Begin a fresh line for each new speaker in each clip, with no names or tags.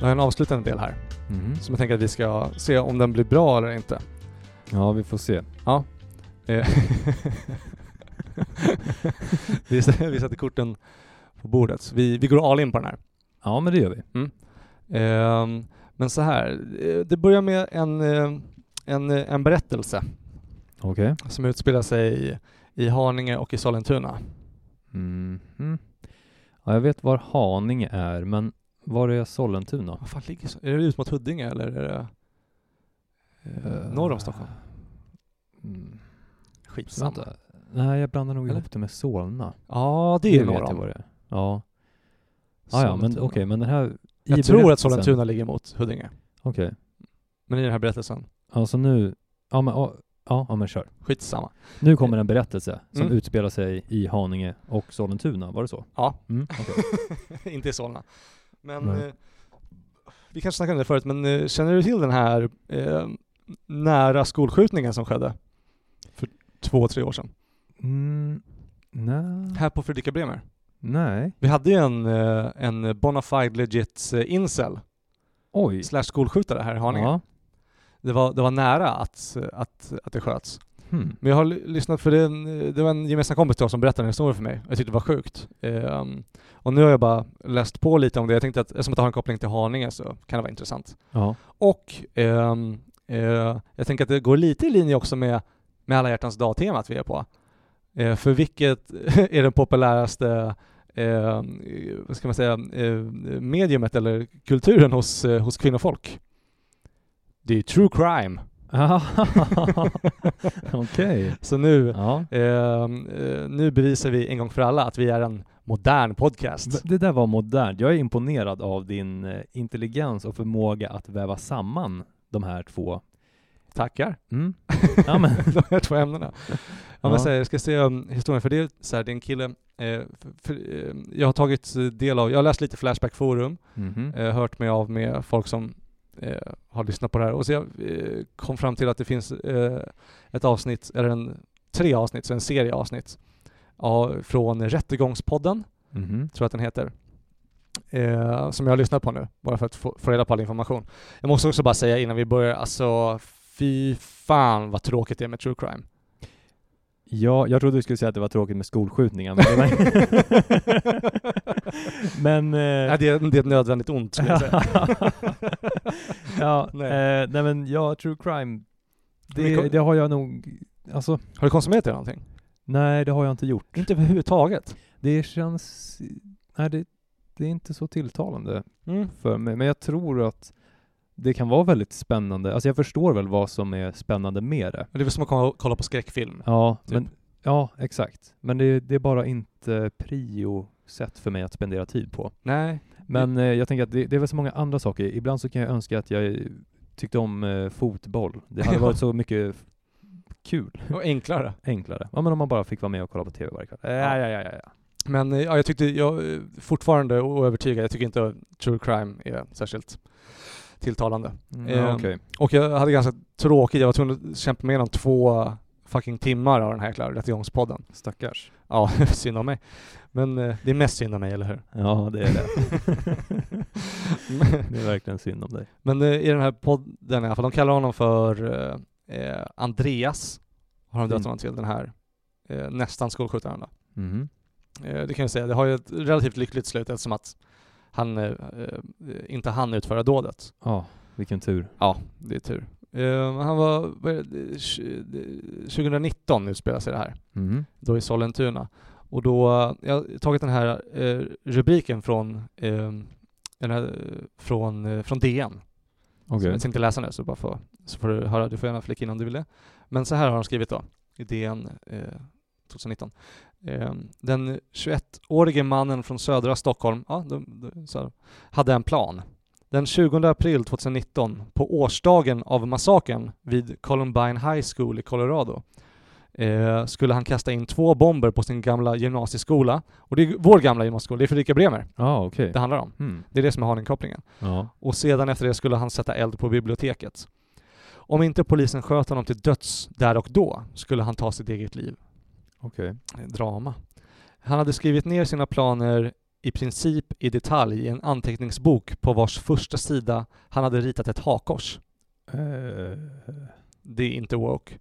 Jag har en avslutande del här
Mhm.
som jag tänker att vi ska se om den blir bra eller inte.
Ja, vi får se.
Eh, vi, s- vi sätter korten på bordet. Så vi, vi går all in på den här.
Ja, men det gör vi.
Mm. Ehm, men så här, eh, det börjar med en, eh, en, eh, en berättelse
Okej.
som utspelar sig i, i Haninge och i Sollentuna.
Mhm. Ja, jag vet var Haninge är, men var är Sollentuna?
Vad fan ligger så? Är det ut mot Huddinge eller är det eh, norr om Stockholm?
Mm.
Skitsamma.
Vänta. Nej, jag blandar nog
Eller?
ihop det med Solna.
Ja, det är
vet
norr
jag
om.
vad det är. Ja. Ah, ja, men
Sollentuna.
okej, men den här... i
Jag tror att
berättelsen-
Sollentuna ligger mot Huddinge.
Okej.
Men i den här berättelsen,
Alltså nu... Ja, men, ja, ja, ja, men kör.
skitsamma.
Nu kommer en berättelse som
Mm.
utspelar sig i Haninge och Sollentuna, var det så?
Ja.
Mm, okej.
Inte i Solna. Men
Nej.
eh, vi kanske snackade om det förut, men eh, känner du till den här eh, nära skolskjutningen som skedde för två, tre år sedan?
mm, nej.
Här på Fredrika Bremer.
Nej.
Vi hade ju en, eh, en bona fide legit eh, incel
Oj.
slash skolskjutare här i Haninge.
Ja. det
Det, var, det var nära att, att, att det sköts.
Hmm.
Men jag har l- lyssnat för det, är en- det var en gemensam kompis till oss som berättade en historia för mig. Jag tyckte det var sjukt. Ehm, och nu har jag bara läst på lite om det. Jag tänkte att eftersom att det har en koppling till Haninge så kan det vara intressant.
Ja.
Och ehm, eh, jag tänker att det går lite i linje också med, med alla hjärtans dag-temat vi är på. Eh, för vilket är det populäraste eh, vad ska man säga, eh, mediumet eller kulturen hos, eh, hos kvinnofolk? Det är ju true crime.
Okej.
Så nu,
Ja.
ehm, eh, nu bevisar vi en gång för alla att vi är en modern podcast.
Det där var modernt. Jag är imponerad av din eh, intelligens och förmåga att väva samman de här två.
Tackar.
Mm. Ja, men.
de här två ämnena. Ja,
Ja.
men så här, jag ska se um, historien, för det är, så här, det är en kille, eh, för, för, eh, jag har tagit eh, del av, jag har läst lite Flashback Forum,
Mhm.
eh, hört mig av med folk som eh, har lyssnat på det här och så jag eh, kom fram till att det finns eh, ett avsnitt, eller en, tre avsnitt, så en serie avsnitt ja, från Rättegångspodden,
Mhm.
tror jag att den heter. Eh, som jag har lyssnat på nu, bara för att få, få reda på all information. Jag måste också bara säga innan vi börjar, alltså fy fan vad tråkigt det är med true crime.
Ja, jag trodde du skulle säga att det var tråkigt med skolskjutningar, men... men eh,
Nej, det, är, det är ett nödvändigt ont skulle jag säga.
ja,
Nej.
nej. Eh, nej men ja, true crime,
Men
det,
kom-
det har jag nog, alltså,
Har du konsumerat det någonting?
nej det har jag inte gjort.
Inte överhuvudtaget.
Det känns, nej det, det är inte så tilltalande
Mm.
för mig, men jag tror att det kan vara väldigt spännande, alltså jag förstår väl vad som är spännande med det.
Det är väl som att kolla- kolla på skräckfilm.
Ja,
Typ.
men, ja exakt. Men det, det är bara inte prio sätt för mig att spendera tid på.
Nej.
Men eh, jag tänker att det, det är väl så många andra saker. Ibland så kan jag önska att jag eh, tyckte om eh, fotboll. Det hade
Ja.
varit så mycket f- kul,
Och enklare.
enklare. Ja men om man bara fick vara med och kolla på TV varje kväll. Ja, ja, ja, ja, ja.
Men eh, ja, jag tyckte, jag eh, fortfarande oövertygad, jag tycker inte att true crime är särskilt tilltalande.
Mm,
Ehm,
ja, okej.
Och jag hade ganska tråkigt, jag var tvungen att kämpa mig igenom två fucking timmar av den här jäkla rättegångspodden.
Stackars.
Ja, synd om mig. Men eh, det är mest synd om mig, eller hur?
Ja, det är det. det är verkligen synd om dig.
Men eh, i den här podden i alla fall, de kallar honom för eh, eh, Andreas, har de döpt
Mm.
honom till, den här eh, nästan skolskjutaren då.
Mhm.
Eh, det kan jag säga, det har ju ett relativt lyckligt slut eftersom att han eh, eh, inte hann utföra dådet.
Ja, vilken tur.
Ja, det är tur. Eh, han var, vad är det, tj- det- 2019 utspelar sig det här,
Mhm.
då i Sollentuna. Och då, eh, jag har tagit den här eh, rubriken från, eh, den här, eh, från, eh, från DN.
Okej.
Jag tänkte läsa nu så, bara få, så får du höra, du får gärna flika in om du vill det. Men så här har de skrivit då, i DN eh, 2019. Eh, den 21-årige mannen från södra Stockholm, ja, de, de, så här, hade en plan. Den 20 april 2019, på årsdagen av massakern vid Columbine High School i Colorado, eh, skulle han kasta in två bomber på sin gamla gymnasieskola. Och det är vår gamla gymnasieskola, det är Fredrika Bremer
Ja, okej.
det handlar om.
Mm.
Det är det som är Haninge-kopplingen
Ja.
och sedan efter det skulle han sätta eld på biblioteket. Om inte polisen sköt honom till döds där och då skulle han ta sitt eget liv.
Okej.
Drama. Han hade skrivit ner sina planer i princip i detalj i en anteckningsbok på vars första sida han hade ritat ett hakkors.
Eh,
Det är inte woke.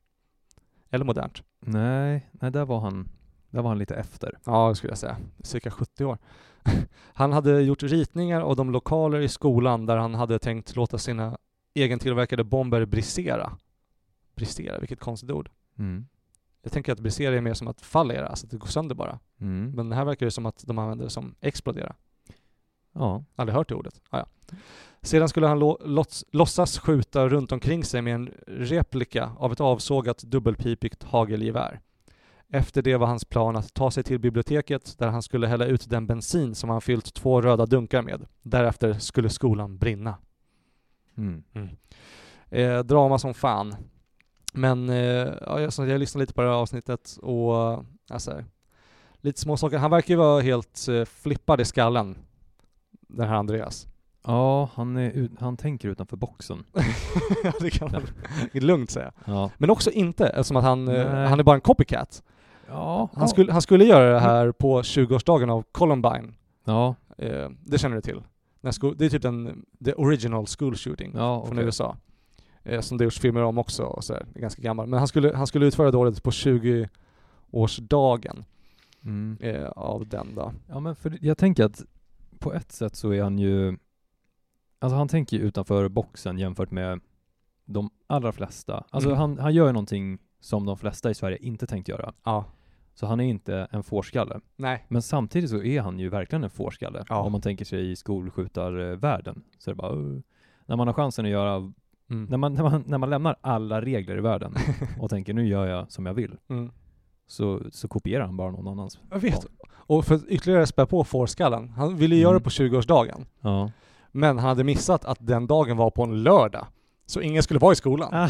Eller modernt.
nej, nej, där var han, där var han lite efter.
Ja, det skulle jag säga. Cirka 70 år. Han hade gjort ritningar av de lokaler i skolan där han hade tänkt låta sina egentillverkade bomber brisera. Brisera, vilket konstigt ord.
Mm.
Jag tänker att brisera är mer som att fallera, alltså att det går sönder bara.
Mm.
Men här verkar det som att de använder det som explodera.
ja.
Aldrig hört det ordet. Ah, ja. Sedan skulle han lo- låts- låtsas skjuta runt omkring sig med en replika av ett avsågat dubbelpipigt hagelgevär. Efter det var hans plan att ta sig till biblioteket där han skulle hälla ut den bensin som han fyllt två röda dunkar med. Därefter skulle skolan brinna.
Mm.
Eh, drama som fan. Men eh, ja, jag, så jag lyssnade lite på det här avsnittet och alltså, lite små saker. Han verkar ju vara helt eh, flippad i skallen, den här Andreas.
Ja, han, är ut, han tänker utanför boxen.
Ja, det kan man lugnt säga.
Ja.
Men också inte, eftersom att han, eh,
Nej.
han är bara en copycat.
Ja.
Han, skulle, han skulle göra det här på 20-årsdagen av Columbine.
Ja,
Eh, det känner du till. När sko- det är typ den, the original school shooting
ja
från
okej.
USA. Eh, som det gjorts filmer om också, och så här, Det är ganska gammal. Men han skulle, han skulle utföra dådet på 20-årsdagen
Mm.
eh, av den då.
Ja, men för jag tänker att på ett sätt så är han ju... Alltså han tänker ju utanför boxen jämfört med de allra flesta. Alltså
Mm.
han, han gör ju någonting som de flesta i Sverige inte tänkt göra.
Ja.
Så han är inte en fårskalle.
Nej.
Men samtidigt så är han ju verkligen en fårskalle.
Ja.
Om man tänker sig i skolskjutarvärlden. Så är det bara... "Åh." när man har chansen att göra...
Mm.
När man, när, man, när man lämnar alla regler i världen och tänker nu gör jag som jag vill.
Mm.
Så, så kopierar han bara någon annans.
Jag vet. Och för att ytterligare spä på fårskallen, han ville ju göra
Mm.
det på 20-årsdagen.
Ja.
Men han hade missat att den dagen var på en lördag. Så ingen skulle vara i skolan.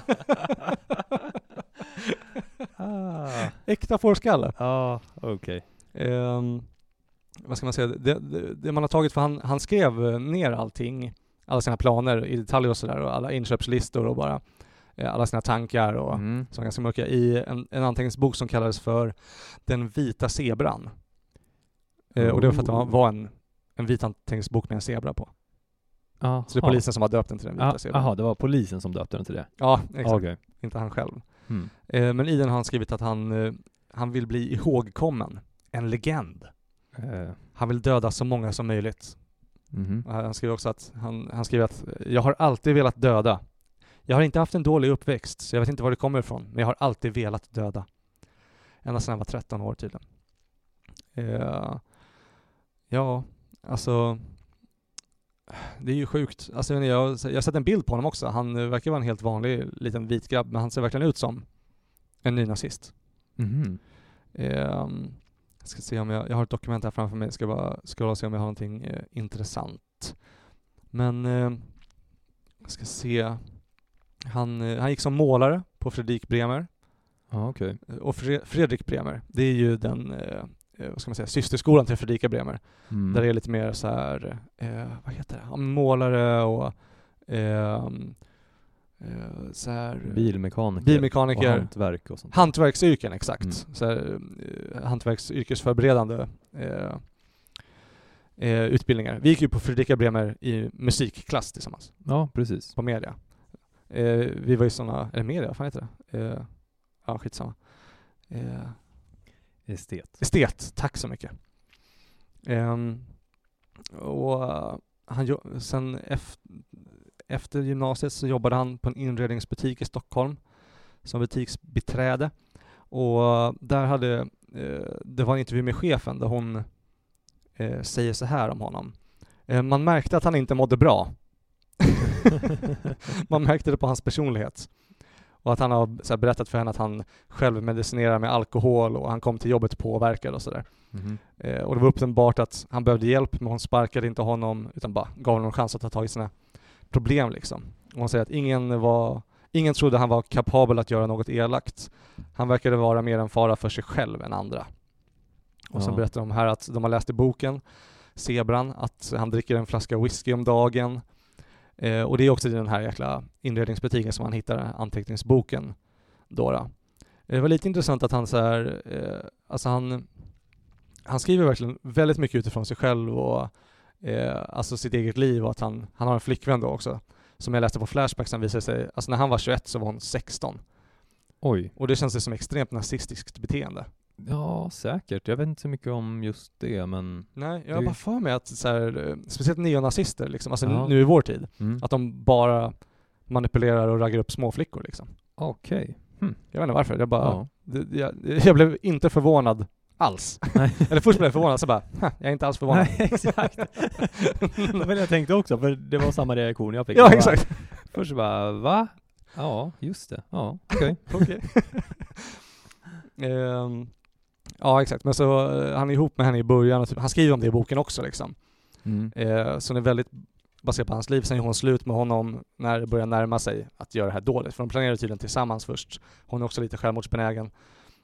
ah.
Äkta fårskalle.
Ja, okej.
Ehm, vad ska man säga? Det, det, det man har tagit, för han, han skrev eh, ner allting, alla sina planer i detalj och sådär och alla inköpslistor och bara eh, alla sina tankar och
Mm.
som var ganska mörka i en, en anteckningsbok som kallades för Den vita zebran. Eh, och det var för att det var- var en, en vit anteckningsbok med en zebra på. Så det är
Aha.
polisen som har döpt den till Den vita
Ah,
zebran.
Jaha, det var polisen som döpte den till det? Ah,
Ja, exakt.
Okej.
Inte han själv.
Mm.
Eh, men i den har han skrivit att han, eh, han vill bli ihågkommen. En legend.
Eh,
Han vill döda så många som möjligt.
mhm.
Och Han skriver också att, han, han skriver att eh, jag har alltid velat döda. Jag har inte haft en dålig uppväxt, så jag vet inte var det kommer ifrån, men jag har alltid velat döda. Ända sedan jag var 13 år tydligen. Eh, ja, alltså... Det är ju sjukt. Alltså, jag, vet inte, jag, jag har sett en bild på honom också. Han eh, verkar vara en helt vanlig liten vit grabb, men han ser verkligen ut som en nynazist.
Mhm.
Ehm, jag ska se om jag, jag har ett dokument här framför mig, jag ska bara scrolla och se om jag har någonting eh, intressant. Men eh, jag ska se. Han, eh, han gick som målare på Fredrik Bremer.
Ja, okej.
Eh, Och Fre- Fredrik Bremer, det är ju den, eh, eh, vad ska man säga, systerskolan till Fredrika Bremer.
Mm.
Där det är lite mer så här, eh, vad heter det, Ja, men målare och ehm, eh, så här,
Bilmekaniker.
bilmekaniker.
Och hantverk och sånt.
Hantverksyrken, exakt.
Mm.
Så här, eh, hantverksyrkesförberedande eh, eh, utbildningar. Vi gick ju på Fredrika Bremer i musikklass tillsammans,
Ja, precis.
på media. Eh, vi var ju sådana, eller media, vad fan heter det? Eh, ja, skitsamma. Eh,
Estet.
estet, tack så mycket. Ehm, och eh, han, jo- sen efter, efter gymnasiet så jobbade han på en inredningsbutik i Stockholm som butiksbiträde. Och eh, där hade, eh, det var en intervju med chefen där hon eh, säger så här om honom. Eh, man märkte att han inte mådde bra. Man märkte det på hans personlighet. Och att han har så här, berättat för henne att han själv medicinerar med alkohol och han kom till jobbet påverkad och sådär.
Mhm.
Eh, och det var uppenbart att han behövde hjälp men hon sparkade inte honom utan bara gav honom en chans att ta tag i sina problem liksom. Och hon säger att ingen var Ingen trodde han var kapabel att göra något elakt. Han verkade vara mer en fara för sig själv än andra. Och sen
Ja.
berättar de här att de har läst i boken, Zebran, att han dricker en flaska whisky om dagen. Eh, och det är också i den här jäkla inredningsbutiken som han hittar anteckningsboken. Dora. Det var lite intressant att eh, han så här, eh, alltså han, han skriver verkligen väldigt mycket utifrån sig själv och eh, alltså sitt eget liv och att han, han har en flickvän då också. Som jag läste på Flashback sen visade sig, alltså när han var 21 så var hon 16.
Oj.
Och det känns ju som extremt narcissistiskt beteende.
Ja, säkert. Jag vet inte så mycket om just det, men...
Nej, jag
Det-
har bara för mig att så här, eh, speciellt neonazister liksom, alltså
Ja.
nu i vår tid,
Mm.
att de bara manipulerar och raggar upp småflickor liksom.
Okej.
Jag vet inte varför, jag bara,
Ja.
det, jag, jag blev inte förvånad alls.
Nej.
Eller först blev jag förvånad, så bara, "Huh, jag är inte alls förvånad.
Nej, exakt. det var det jag tänkte också, för det var samma reaktion jag fick. Jag
ja,
bara-
exakt.
Först så bara, va? Ja, just det. Ja, okej.
Okej. Ehm, ja, exakt. Men så eh, han är ihop med henne i början och typ, han skriver om det i boken också liksom.
Mm.
Eh, så den är väldigt baserad på hans liv. Sen är hon slut med honom när det börjar närma sig att göra det här dåligt. För de planerar tydligen tillsammans först. Hon är också lite självmordsbenägen.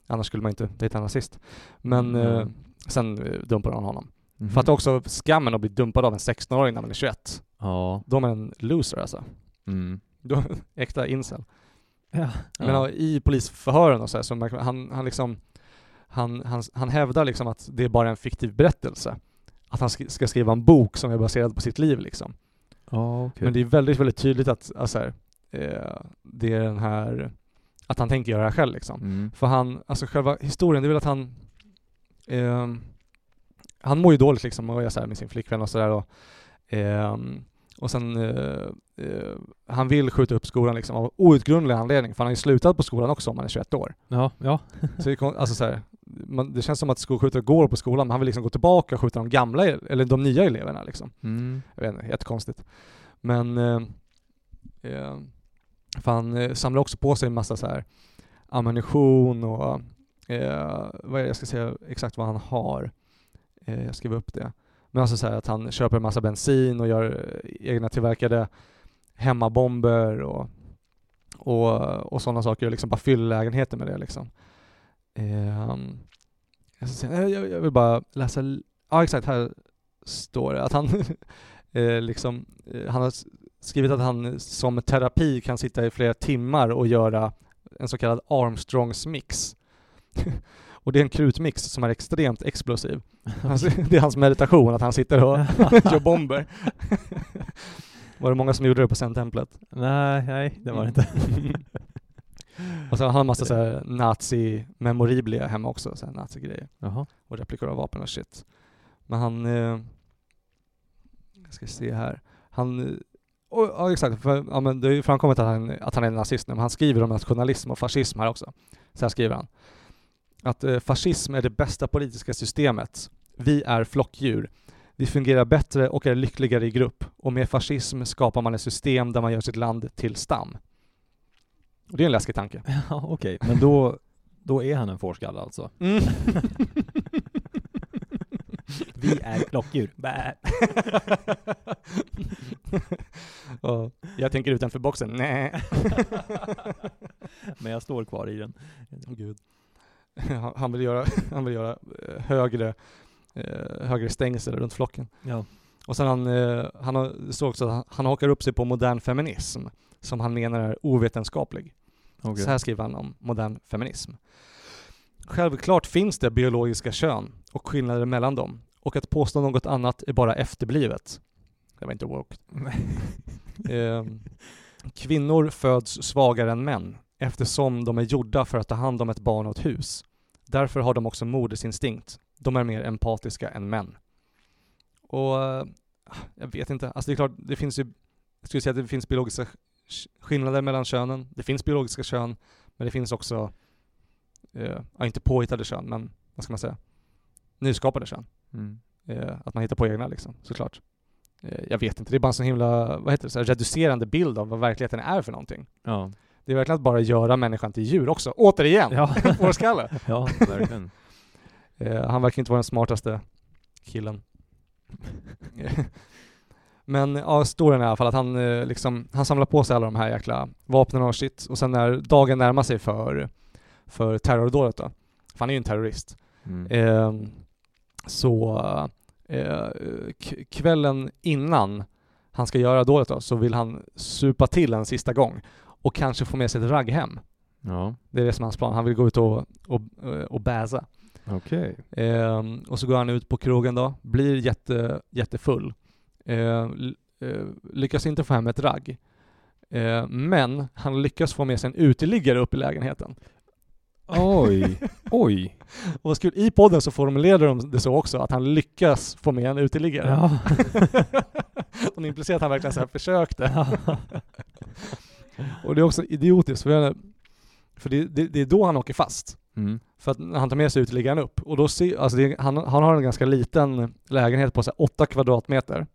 Annars skulle man inte dejta en nazist. Men
Mm.
eh, sen eh, dumpar hon honom.
Mhm.
Fatta också skammen att bli dumpad av en 16-åring när man är 21.
Ja.
Då är man en loser alltså.
Mm.
Då, äkta incel.
Ja.
Men ja, i polisförhören och så, här, så märker man, han, han liksom han, han, han hävdar liksom att det är bara en fiktiv berättelse. Att han sk- ska skriva en bok som är baserad på sitt liv liksom.
Ja, okej.
Men det är väldigt, väldigt tydligt att, alltså här, eh, det är den här, att han tänker göra det här själv liksom.
Mm.
För han, alltså själva historien, det är väl att han ehm, han mår ju dåligt liksom och är så här med sin flickvän och sådär och, ehm, och sen eh, eh, han vill skjuta upp skolan liksom av outgrundlig anledning för han har ju slutat på skolan också om han är 21 år.
Ja, ja.
Så det, är kon- alltså så här, man, det känns som att skolskjutare går på skolan men han vill liksom gå tillbaka och skjuta de gamla, ele- eller de nya eleverna liksom.
Mm.
Jag vet inte, jättekonstigt. Men eh, eh, för han eh, samlar också på sig en massa så här ammunition och eh, vad är det, jag ska säga exakt vad han har. Eh, jag skrev upp det. Men alltså så här att han köper en massa bensin och gör eh, egna tillverkade hemmabomber och, och, och sådana saker och liksom bara fyller lägenheten med det liksom. Ehm, jag, ska säga, eh, jag, jag vill bara läsa, l- ja exakt här står det att han eh, liksom, eh, han har s- skrivit att han eh, som terapi kan sitta i flera timmar och göra en så kallad Armstrongs mix. och det är en krutmix som är extremt explosiv. Alltså, det är hans meditation, att han sitter och kör bomber. Var det många som gjorde det på Zen-templet?
nej, nej, det var det inte.
Och sen har han en massa så här nazi-memorabilia hemma också, så här nazi-grejer.
Jaha.
Och replikor av vapen och shit. Men han... Eh, jag ska se här. Han... eh, Och, ja exakt, för, ja, men det har ju framkommit att han, att han är nazist nu, men han skriver om nationalism och fascism här också. Så här skriver han. Att eh, fascism är det bästa politiska systemet. Vi är flockdjur. Vi fungerar bättre och är lyckligare i grupp. Och med fascism skapar man ett system där man gör sitt land till stam. Och det är en läskig tanke.
Ja, okej. Men då, då är han en fårskalle alltså? Vi är klockdjur. Bä.
Ja. jag tänker utanför boxen. Nej.
Men jag står kvar i den.
Gud. Han, han vill göra, han vill göra eh, högre, eh, högre stängsel runt flocken.
Ja.
Och sen han, eh, han har, såg också att han, han hakar upp sig på modern feminism som han menar är ovetenskaplig.
Okej.
Så här skriver han om modern feminism. Självklart finns det biologiska kön och skillnader mellan dem och att påstå något annat är bara efterblivet. Det var inte woke. Ehm, kvinnor föds svagare än män eftersom de är gjorda för att ta hand om ett barn och ett hus. Därför har de också modersinstinkt. De är mer empatiska än män. Och eh, jag vet inte, alltså det är klart, det finns ju, jag skulle säga att det finns biologiska sk- skillnader mellan könen. Det finns biologiska kön, men det finns också, eh, ja inte påhittade kön, men vad ska man säga, nyskapade kön.
Mm.
Eh, att man hittar på egna liksom, såklart. Eh, jag vet inte, det är bara en sån himla, vad heter det, så här, reducerande bild av vad verkligheten är för någonting.
Ja.
Det är verkligen att bara göra människan till djur också. Återigen!
Ja.
Fårskalle!
ja, verkligen.
Eh, han verkar inte vara den smartaste killen. Men ja, storyn är i alla fall att han, eh, liksom, han samlar på sig alla de här jäkla vapnen och shit och sen när dagen närmar sig för, för terrordådet då, för han är ju en terrorist,
Mm.
Ehm, så eh, k- kvällen innan han ska göra dåligt då, så vill han supa till en sista gång och kanske få med sig ett ragg hem.
Ja.
Det är det som är hans plan. Han vill gå ut och, och, eh, och bäsa.
Okej.
Ehm, och så går han ut på krogen då, blir jätte, jättefull. Ehm, l- eh, lyckas inte få hem ett ragg. Ehm, men han lyckas få med sig en uteliggare upp i lägenheten.
Oj. Oj.
Och vad skulle, i podden så formulerade de det så också, att han lyckas få med en uteliggare.
Ja.
De implicerar att han verkligen så här försökte. Och det är också idiotiskt, för, jag- för det, det, det är då han åker fast.
Mm.
För att när han tar med sig uteliggaren upp. Och då ser, alltså det, är- han, han har en ganska liten lägenhet på så här 8 kvadratmeter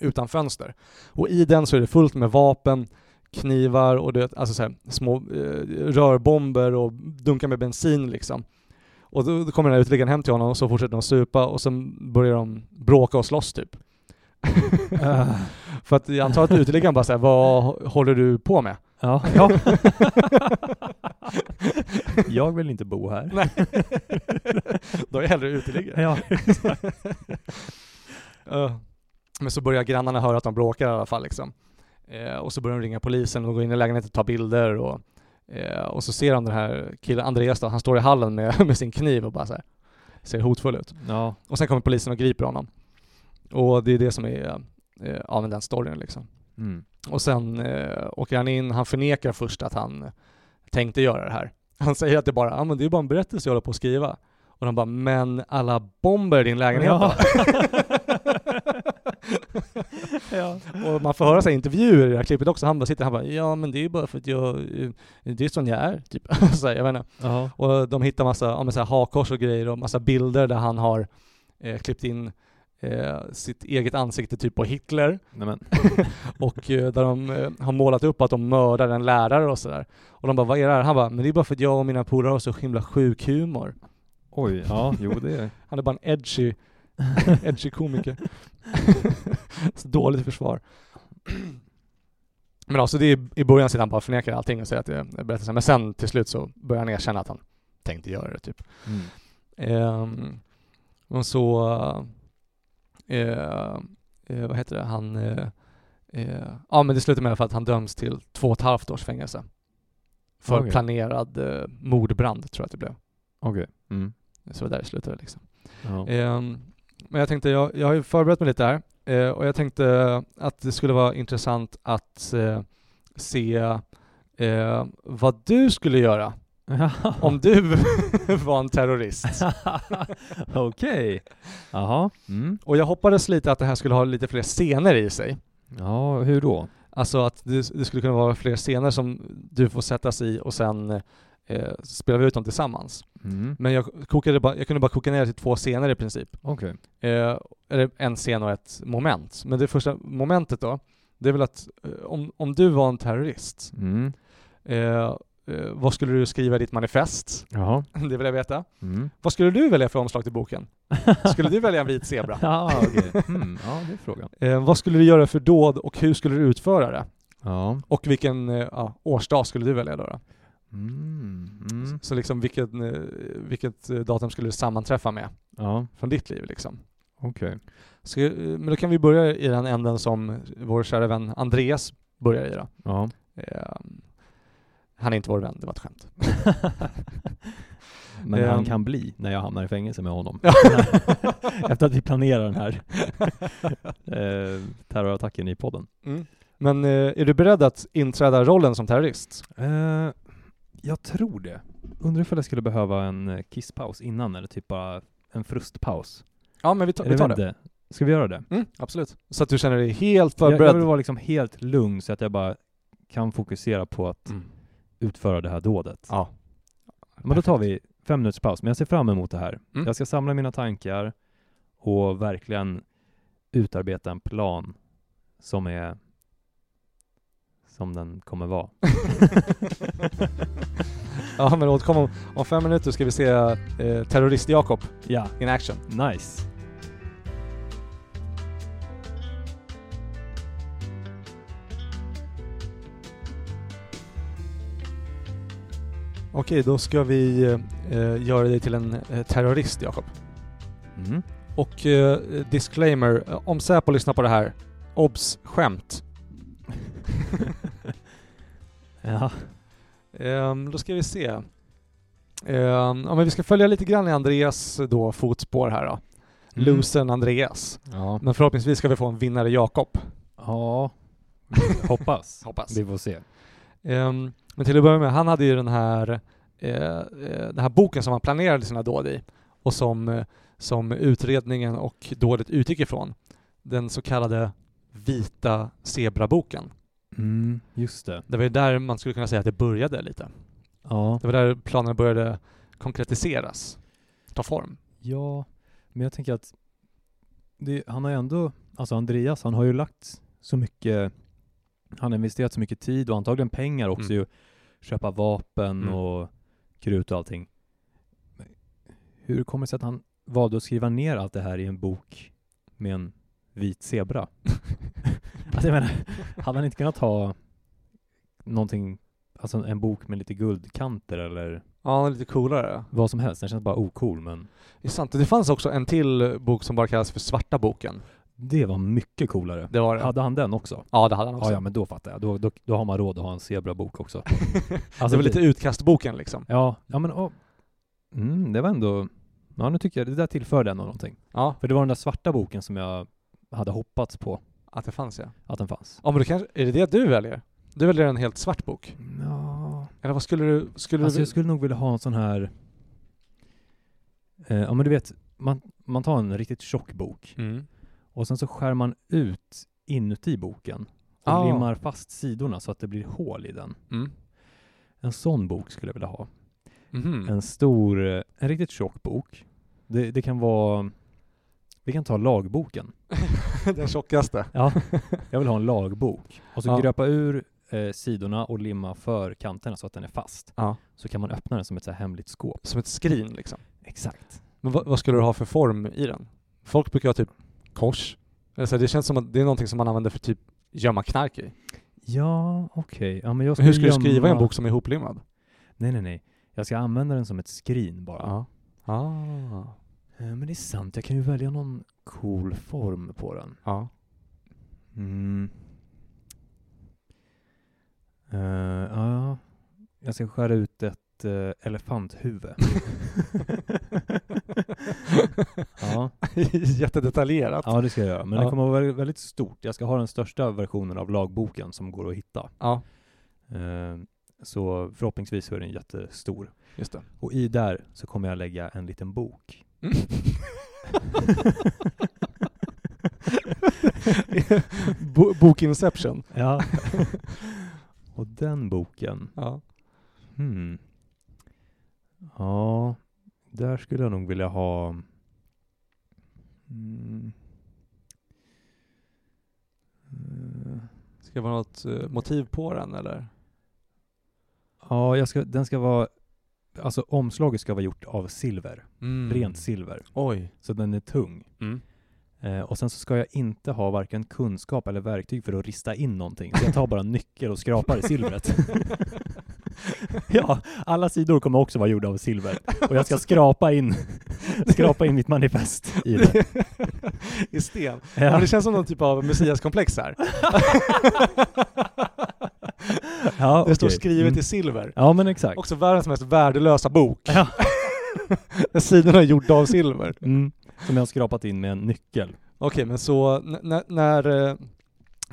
utan fönster. Och i den så är det fullt med vapen, knivar och du vet, alltså så här, små eh, rörbomber och dunkar med bensin liksom. Och då, då kommer den här uteliggaren hem till honom och så fortsätter de supa och sen börjar de bråka och slåss typ.
Äh,
För att jag antar att uteliggaren bara säger vad håller du på med?
ja. ja. Jag vill inte bo här.
Nej. Då är jag hellre uteliggare.
Ja.
Eh, Men så börjar grannarna höra att de bråkar i alla fall liksom. Eh, och så börjar de ringa polisen och gå in i lägenheten och ta bilder och, eh, och så ser de den här killen, Andreas då, han står i hallen med, med sin kniv och bara så här, ser hotfull ut.
Ja.
Och sen kommer polisen och griper honom. Och det är det som är, eh, ja men den storyn liksom.
Mm.
Och sen eh, åker han in, han förnekar först att han tänkte göra det här. Han säger att det bara, ja men det är bara en berättelse jag håller på att skriva. Och de bara, men alla bomber i din lägenhet då?
Ja. ja.
Och man får höra så här intervjuer i det här klippet också, han bara sitter han bara ja men det är ju bara för att jag, eh, det är sån jag är typ. så här, jag vet inte.
Ja.
Och de hittar massa ja, men så här, hakkors och grejer och massa bilder där han har eh, klippt in eh, sitt eget ansikte typ på Hitler
Nej men.
och eh, där de eh, har målat upp att de mördar en lärare och sådär. Och de bara vad är det här? Han bara men det är bara för att jag och mina polare har så himla sjuk humor.
Oj. Ja. Jo det är.
Han är bara en edgy, edgy komiker. så dåligt försvar. Men alltså det är i början sitter han bara och förnekar allting och säger att det är berättelsen. Men sen till slut så börjar han erkänna att han tänkte göra det typ.
Mm.
Ehm, och så... Eh, eh, vad heter det? Han... Eh, eh, ja men det slutar med i alla fall att han döms till två och ett halvt års fängelse. För
Okej.
planerad eh, mordbrand tror jag att det blev.
Okej. Mm.
Så det där slutade liksom.
Ja.
Ehm, men jag tänkte, jag, jag har ju förberett mig lite här eh, och jag tänkte att det skulle vara intressant att eh, se eh, vad du skulle göra
Eh.
om du var en terrorist.
Okej. Jaha. Mm.
Och jag hoppades lite att det här skulle ha lite fler scener i sig.
Ja, hur då?
Alltså att det, det skulle kunna vara fler scener som du får sättas i och sen eh, spelar vi ut dem tillsammans.
Mm.
Men jag, kokade bara, jag kunde bara koka ner det till två scener i princip.
Okej.
Eh, eller en scen och ett moment. Men det första momentet då, det är väl att eh, om, om du var en terrorist,
Mm.
eh, eh, vad skulle du skriva i ditt manifest?
Jaha.
Det vill jag veta.
Mm.
Vad skulle du välja för omslag till boken? Skulle du välja en vit zebra?
Ja, okej. Mm. Ja, det är frågan.
Eh, vad skulle du göra för dåd och hur skulle du utföra det?
Ja.
Och vilken eh, ja, årsdag skulle du välja då? då?
Mm. Mm.
Så liksom vilket, eh, vilket eh, datum skulle du sammanträffa med
Ja,
från ditt liv liksom?
okej.
Så, eh, men då kan vi börja i den änden som vår kära vän Andreas börjar i då.
Ja.
Ehm, han är inte vår vän, det var ett skämt.
Men
Ehm.
han kan bli när jag hamnar i fängelse med honom. Efter att vi planerar den här eh, terrorattacken i podden.
Men eh, är du beredd att inträda rollen som terrorist?
Eh, jag tror det. Undrar ifall jag skulle behöva en eh, kisspaus innan eller typ bara en frustpaus.
Ja, men vi, tar- vi
Eller
tar
vet
det.
inte. Ska vi göra det?
Mm, absolut. Så att du känner dig helt
Jag, jag
förberedd.
vill vara liksom helt lugn så att jag bara kan fokusera på att
Mm.
utföra det här dådet.
Ja.
Men då tar vi fem minuters paus, men jag ser fram emot det här.
Mm.
Jag ska samla mina tankar och verkligen utarbeta en plan som är som den kommer vara.
ja, men återkom om, om fem minuter ska vi se eh, Terrorist-Jakob
Ja,
in action.
nice.
Okej, då ska vi eh, göra dig till en eh, terrorist, Jakob.
Mm.
Och eh, disclaimer, eh, om Säpo lyssnar på det här, obs! Skämt.
Ja. Mm.
Ehm, då ska vi se. Eh, ja, men vi ska följa lite grann i Andreas eh, då, fotspår här då. Losern Andreas.
Ja.
Men förhoppningsvis ska vi få en vinnare Jakob.
ja. Hoppas.
Hoppas.
Vi får se.
Ehm, men till att börja med, han hade ju den här, eh, eh, den här boken som han planerade sina dåd i och som, eh, som utredningen och dådet utgick ifrån. Den så kallade vita zebraboken.
Mm, just det.
Det var ju där man skulle kunna säga att det började lite.
Ja.
Det var där planerna började konkretiseras, ta form.
Ja, men jag tänker att det, han har ju ändå, alltså Andreas, han har ju lagt så mycket, han har investerat så mycket tid och antagligen pengar också
Mm.
ju, köpa vapen
Mm.
och krut och allting. Men Hur kommer det sig att han valde att skriva ner allt det här i en bok med en vit zebra? alltså jag menar, hade han inte kunnat ha någonting, alltså en bok med lite guldkanter eller
Ja, lite coolare.
vad som helst? Den känns bara ocool men
Det är sant. Det fanns också en till bok som bara kallas för Svarta boken.
det var mycket coolare.
Det var det.
Hade han den också?
Ja, det hade han också.
Ja, ja, men då fattar jag. Då, då, då har man råd att ha en zebrabok också.
det
Alltså,
var lite utkastboken liksom.
Ja, ja men åh. Mm, det var ändå... Ja, nu tycker jag det där tillförde ändå någonting.
Ja,
För det var den där svarta boken som jag hade hoppats på
att det fanns ja.
att den fanns.
Ja men det kanske, är det det du väljer? Du väljer en helt svart bok?
Ja.
Eller vad skulle du... Skulle
Alltså
du
jag skulle nog vilja ha en sån här... Eh, ja men du vet, man, man tar en riktigt tjock bok
mm.
och sen så skär man ut inuti boken och
Ah.
limmar fast sidorna så att det blir hål i den.
Mm.
En sån bok skulle jag vilja ha.
Mhm.
en stor, eh, en riktigt tjock bok. Det, det kan vara, vi kan ta lagboken.
Den tjockaste.
Ja, jag vill ha en lagbok. Och så
Ja.
gröpa ur eh, sidorna och limma för kanterna så att den är fast.
Ja.
Så kan man öppna den som ett så här hemligt skåp.
Som ett skrin liksom.
Exakt.
Men vad, vad skulle du ha för form i den? Folk brukar ha typ kors. Eller så, här, det känns som att det är någonting som man använder för typ gömma knark i.
Ja, okej. Ja, men jag
Men hur skulle du
gömma-
skriva i en bok som är ihoplimmad?
Nej, nej, nej. Jag ska använda den som ett skrin bara.
Ah.
Eh, Men det är sant, jag kan ju välja någon cool form på den.
Ja.
Mm. Eh, ja, jag ska skära ut ett eh, elefanthuvud. ja.
Jättedetaljerat.
ja, det ska jag göra. Men
Ja.
det kommer att vara väldigt- väldigt stort. Jag ska ha den största versionen av lagboken som går att hitta.
Ja,
Eh, så förhoppningsvis så är den jättestor.
just det.
Och i där så kommer jag lägga en liten bok.
Mm. Bo- Bokinception.
Ja. Och den boken
Ja.
Hmm. Ja, där skulle jag nog vilja ha... Mm. Eh,
Ska det vara något eh, motiv på den eller?
Ja, jag ska, den ska vara... Alltså omslaget ska vara gjort av silver. Rent silver.
Mm. Oj.
Så den är tung. Eh, och sen så ska jag inte ha varken kunskap eller verktyg för att rista in någonting. Så jag tar bara en nyckel och skrapar i silvret. ja, alla sidor kommer också vara gjorda av silver. Och jag ska skrapa in, skrapa in mitt manifest i det.
I sten. Ja.
Ja,
men det känns som någon typ av messiaskomplex här.
ja,
Det står
okej.
skrivet
Mm.
i silver.
Ja, men exakt.
Också världens mest värdelösa bok.
Ja.
Där sidorna är gjorda av silver. Okej,
Mm. Som jag har skrapat in med en nyckel.
men så n- n- när, eh,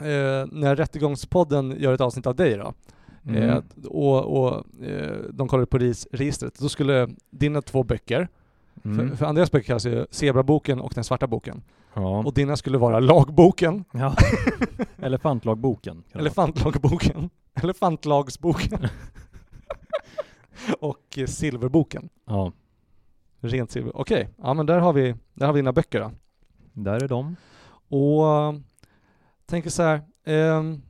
eh, när Rättegångspodden gör ett avsnitt av dig då,
Mm.
eh, och, och eh, de kollar på ris- registret, då skulle dina två böcker,
Mm.
för, för Andreas böcker kallas ju Zebraboken och Den svarta boken,
Ja.
och dina skulle vara Lagboken,
ja. Elefantlagboken. kan det
Elefantlagboken, Elefantlagsboken och eh, Silverboken.
vara. Ja.
Rent silver. Okej, ja men där har vi, där har vi dina böcker då.
Där är de.
Och eh, tänker så här, ehm,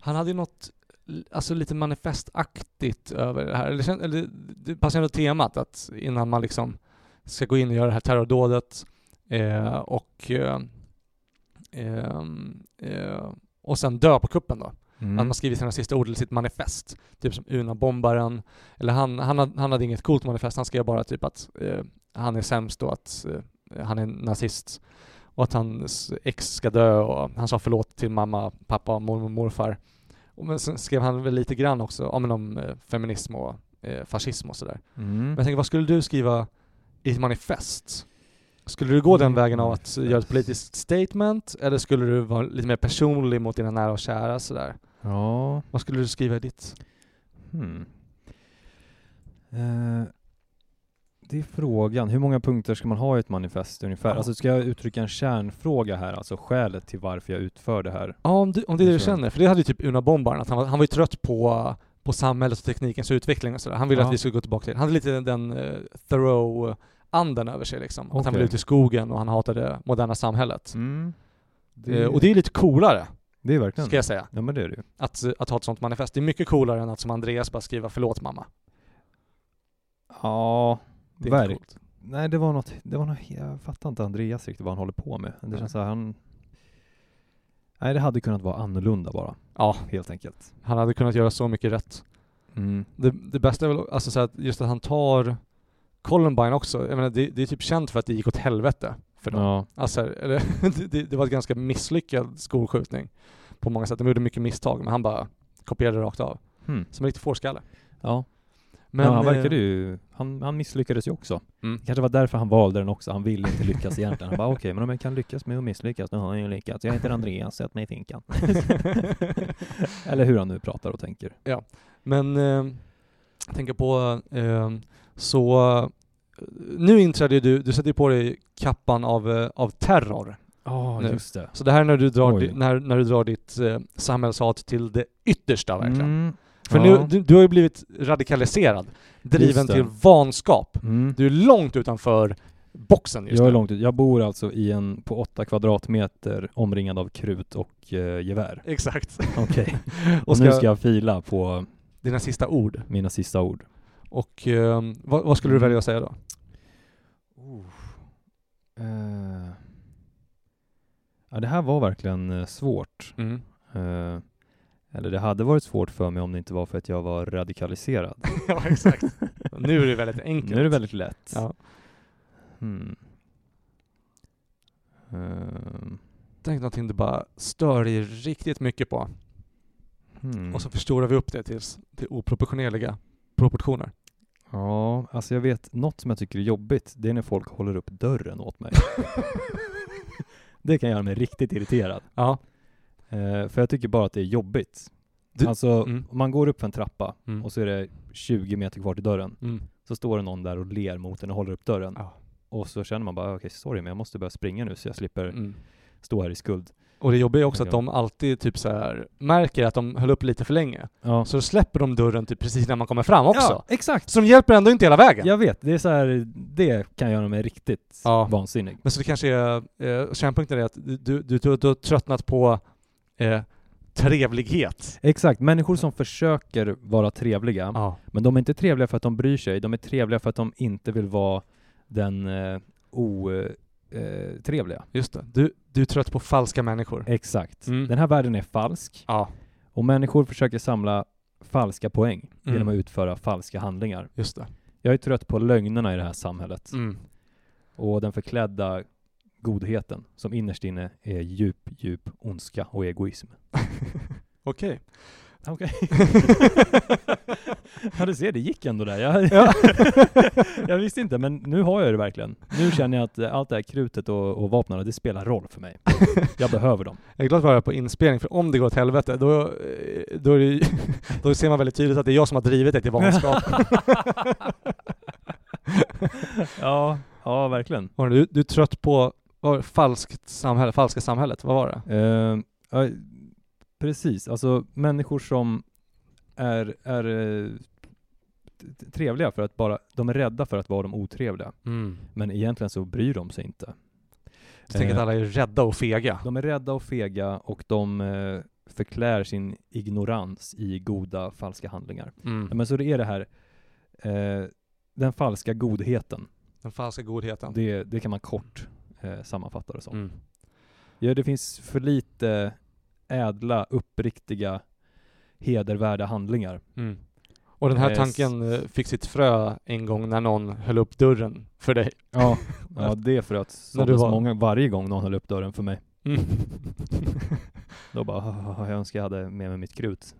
han hade ju något l- Alltså lite manifestaktigt över det här. Eller, kän- eller det passar ändå temat att innan man liksom ska gå in och göra det här terrordådet eh, och, eh, ehm, eh, och sen dö på kuppen då.
Mm.
Att man skrivit sina sista ord eller sitt manifest. Typ som Unabombararen. Eller han, han, hade, han hade inget coolt manifest, han skrev bara typ att eh, han är sämst och att eh, han är nazist. Och att hans ex ska dö och han sa förlåt till mamma, pappa, mormor och morfar. Och men sen skrev han väl lite grann också ja, men om eh, feminism och eh, fascism och sådär. Men
Mm.
jag tänker, vad skulle du skriva i ett manifest? Skulle du gå den vägen av att göra ett politiskt statement, eller skulle du vara lite mer personlig mot dina nära och kära sådär?
Ja.
Vad skulle du skriva i ditt?
Hmm. Eh, det är frågan. Hur många punkter ska man ha i ett manifest ungefär?
Ja.
Alltså ska jag uttrycka en kärnfråga här, alltså skälet till varför jag utför det här?
Ja, om, du, om det är det du
Jag tror-
känner. För det hade ju typ Una Bombaren, att han var, han var ju trött på, på samhället och teknikens utveckling och sådär. Han ville
Ja.
att vi skulle gå tillbaka till Han hade lite den uh, Thoreau-anden över sig liksom. Att han
Okej.
ville ut i skogen och han hatade moderna samhället.
Det,
Mm. Eh, och det är lite coolare,
det är verkligen
ska jag säga,
Ja men det är det ju.
att, att ha ett sånt manifest. Det är mycket coolare än att som Andreas bara skriva ”Förlåt mamma”.
Ja,
Det är inte
verkligen.
coolt.
Nej det var något, det var något, jag fattar inte Andreas riktigt vad han håller på med. Det
Nej.
känns så här, han... Nej det hade kunnat vara annorlunda bara,
Ja,
helt enkelt.
han hade kunnat göra så mycket rätt. Det, det bästa är väl alltså så här att just att han tar Columbine också. Jag menar, det, det är typ känt för att det gick åt helvete för dem.
Ja.
Alltså, eller, det- det, det var en ganska misslyckad skolskjutning på många sätt. De gjorde mycket misstag, men han bara kopierade rakt av.
Hmm.
Som en riktig fårskalle.
ja.
Men,
ja, han
eh,
verkade ju, han, han misslyckades ju också.
Mm.
Det kanske var därför han valde den också, han ville inte lyckas egentligen. Han bara okej, men om jag kan lyckas med att misslyckas, då har jag ju lyckats. Jag heter Andreas, sätt mig i finkan. Eller hur han nu pratar och tänker.
Men eh, jag tänker på, eh, så eh, nu inträdde ju du, du sätter ju på dig kappan av, eh, av terror.
Ja,
Nu.
just det.
Så det här är när du drar,
Oj.
di, när, när du drar ditt eh, samhällshat till det yttersta verkligen.
Mm.
För
Ja.
nu, du, du har ju blivit radikaliserad, driven
Just det.
till vanskap.
Mm.
Du är långt utanför boxen just
jag är
nu.
långt ut. Jag bor alltså i en, på åtta kvadratmeter omringad av krut och eh, gevär.
Exakt.
Okej.
Och
och
ska-
nu ska jag fila på
Dina sista ord.
mina sista ord.
Och ehm, vad, vad skulle du
Mm.
välja att säga då?
Eh. Ja, det här var verkligen eh, svårt.
Mm.
Eh, eller det hade varit svårt för mig om det inte var för att jag var radikaliserad.
ja, exakt. nu är det väldigt enkelt.
nu är det väldigt lätt.
Ja.
Hmm. Ehm,
Tänk någonting du bara stör dig riktigt mycket på.
hmm.
Och så förstorar vi upp det till, till oproportionerliga proportioner.
Ja, alltså jag vet något som jag tycker är jobbigt, det är när folk håller upp dörren åt mig. det kan göra mig riktigt irriterad.
Ja.
Eh, för jag tycker bara att det är jobbigt.
Du-
alltså,
mm.
om man går upp för en trappa
Mm.
och så är det 20 meter kvar till dörren,
Mm.
så står det någon där och ler mot den och håller upp dörren.
Ja.
Och så känner man bara, okej sorry men jag måste börja springa nu så jag slipper
Mm.
stå här i skuld.
Och det jobbiga är också att de alltid typ så här märker att de höll upp lite för länge.
Ja.
Så släpper de dörren typ precis när man kommer fram också.
Ja, exakt!
Så de hjälper ändå inte hela vägen.
Jag vet, det är så här, det kan göra mig riktigt
Ja.
vansinnig.
Men så det kanske är, eh, kärnpunkten är att du, du, du, du har tröttnat på eh, trevlighet.
Exakt, människor som försöker vara trevliga,
Ja.
Men de är inte trevliga för att de bryr sig, de är trevliga för att de inte vill vara den eh, otrevliga.
Just det. Du, du är trött på falska människor.
Exakt.
Mm.
Den här världen är falsk
Ja,
och människor försöker samla falska poäng genom att
Mm.
utföra falska handlingar.
just det.
Jag är trött på lögnerna i det här samhället
Mm.
och den förklädda godheten som innerst inne är djup, djup ondska och egoism.
Okej.
Okej. ja du ser, det gick ändå där. Jag,
Ja.
jag visste inte, men nu har jag det verkligen. Nu känner jag att eh, allt det här krutet och, och vapnen, det spelar roll för mig. Jag behöver dem.
Jag är glad att vara här på inspelning, för om det går åt helvete, då, eh, då, är det, ju- då ser man väldigt tydligt att det är jag som har drivit dig till vanskap.
ja, ja verkligen.
Var det- du, du är trött på vad var det, falskt samhälle, falska samhället, vad var det?
Eh, ja, precis, alltså människor som är, är eh, t- trevliga för att bara, de är rädda för att vara de otrevliga.
Mm.
Men egentligen så bryr de sig inte.
Jag tänker att alla är rädda och fega.
De är rädda och fega och de eh, förklär sin ignorans i goda falska handlingar. Ja,
Mm.
Men så det är det här, eh, den falska godheten,
Den falska godheten.
det, det kan man kort eh, sammanfatta det som.
Mm.
Ja, det finns för lite ädla, uppriktiga, hedervärda handlingar.
Mm. Och den här
Eh, s-
tanken eh, fick sitt frö en gång när någon höll upp dörren för dig.
Ja, ja det är för att
När du
såldes
var-
många varje gång någon höll upp dörren för mig.
Mm.
Då bara, jag önskar jag hade med mig mitt krut.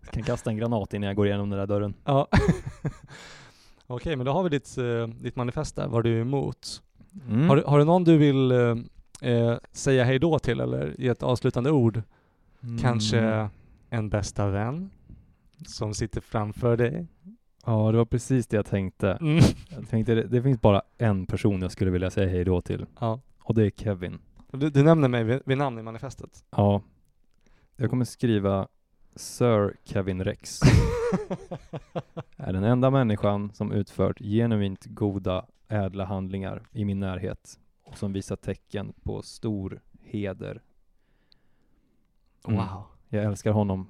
Jag kan kasta en granat innan jag går igenom den där dörren.
Ja. Okej, men då har vi ditt, eh, ditt manifest där, vad du är emot.
Mm.
Har, du- har du någon du vill eh, eh, säga hej då till eller ge ett avslutande ord?
Mm.
Mm. Kanske en bästa vän som sitter framför dig?
Ja, det var precis det jag tänkte.
Mm.
Jag tänkte det, det finns bara en person jag skulle vilja säga hej då till
Ja.
och det är Kevin.
Du, du nämner mig vid, vid namn i manifestet.
Ja. Jag kommer skriva Sir Kevin Rex är den enda människan som utfört genuint goda, ädla handlingar i min närhet och som visar tecken på stor heder. Mm.
Wow.
Jag älskar honom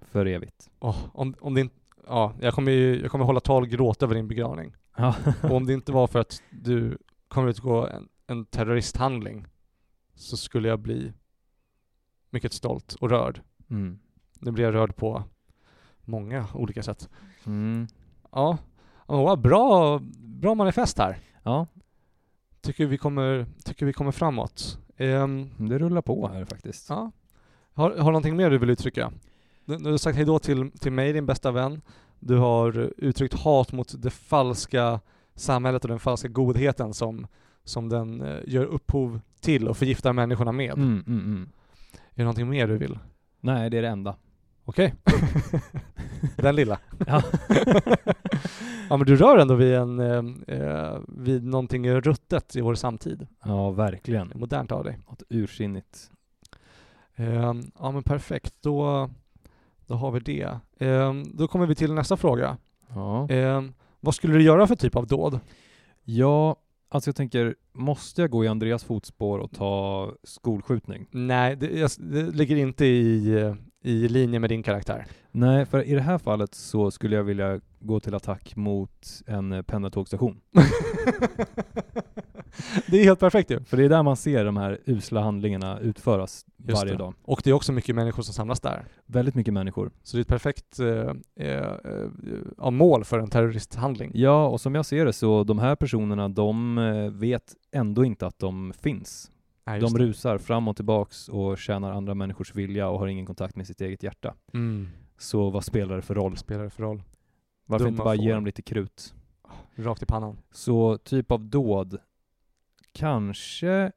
för evigt.
Åh, om, om det inte, ja, jag kommer ju, jag kommer hålla tal och gråta över din begravning.
Ja.
Och om det inte var för att du kommer utgå en, en terroristhandling så skulle jag bli mycket stolt och rörd.
Mm.
Nu blir jag rörd på många olika sätt.
Mm.
Ja, Ja, vad bra, bra manifest här.
ja,
Tycker vi kommer, tycker vi kommer framåt. Ehm,
det rullar på här faktiskt.
ja. Har, har du någonting mer du vill uttrycka? Du, du har sagt hejdå till, till mig, din bästa vän. Du har uttryckt hat mot det falska samhället och den falska godheten som, som den eh, gör upphov till och förgiftar människorna med.
Mm, mm, mm.
Är det någonting mer du vill?
Nej, det är det enda.
Okej. den lilla.
Ja.
Ja men du rör ändå vid, en, eh, eh, vid någonting ruttet i vår samtid.
ja, verkligen.
Modernt av dig.
Något ursinnigt.
Ehm, ja men perfekt, då, då har vi det. Ehm, då kommer vi till nästa fråga.
Ja.
Ehm, vad skulle du göra för typ av dåd?
ja, alltså jag tänker, måste jag gå i Andreas fotspår och ta skolskjutning?
Nej, det, jag, det ligger inte i, eh, i linje med din karaktär.
Nej, för i det här fallet så skulle jag vilja gå till attack mot en eh, pendeltågsstation.
det är helt perfekt ju.
För det är där man ser de här usla handlingarna utföras
Just
varje
det.
dag.
Och det är också mycket människor som samlas där.
Väldigt mycket människor.
Så det är ett perfekt eh, eh, eh, ja, mål för en terroristhandling.
Ja, och som jag ser det så de här personerna, de eh, vet ändå inte att de finns.
Nej, just
De
det.
rusar fram och tillbaks och tjänar andra människors vilja och har ingen kontakt med sitt eget hjärta.
Mm.
Så vad spelar det för roll?
Vad spelar det för roll?
Varför
Dumma
inte bara ge
får.
dem lite krut?
Rakt i pannan.
Så typ av dåd, kanske...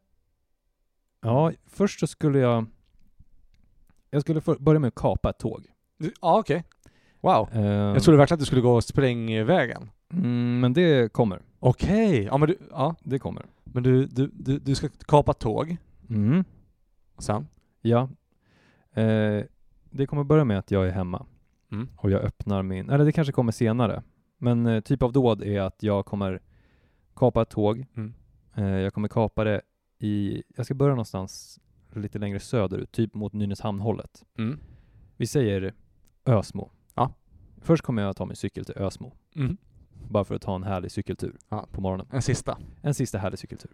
Ja, först så skulle jag... Jag skulle för, börja med att kapa ett tåg.
Ja okej. Wow.
Eh,
Jag trodde verkligen att du skulle gå sprängvägen.
mm, men det kommer.
Okej, ja men du, ja.
Det kommer.
Men du, du, du, du ska kapa tåg
Mm.
sen.
Ja. Eh, det kommer börja med att jag är hemma
Mm.
och jag öppnar min... Eller det kanske kommer senare. Men eh, typ av dåd är att jag kommer kapa ett tåg.
Mm.
Eh, jag kommer kapa det i... Jag ska börja någonstans lite längre söderut, typ mot Nynäshamnhållet.
Mm.
Vi säger Ösmo.
Ja.
Först kommer jag att ta min cykel till Ösmo,
Mm.
bara för att ta en härlig cykeltur
Ja.
på morgonen.
En sista.
En sista härlig cykeltur.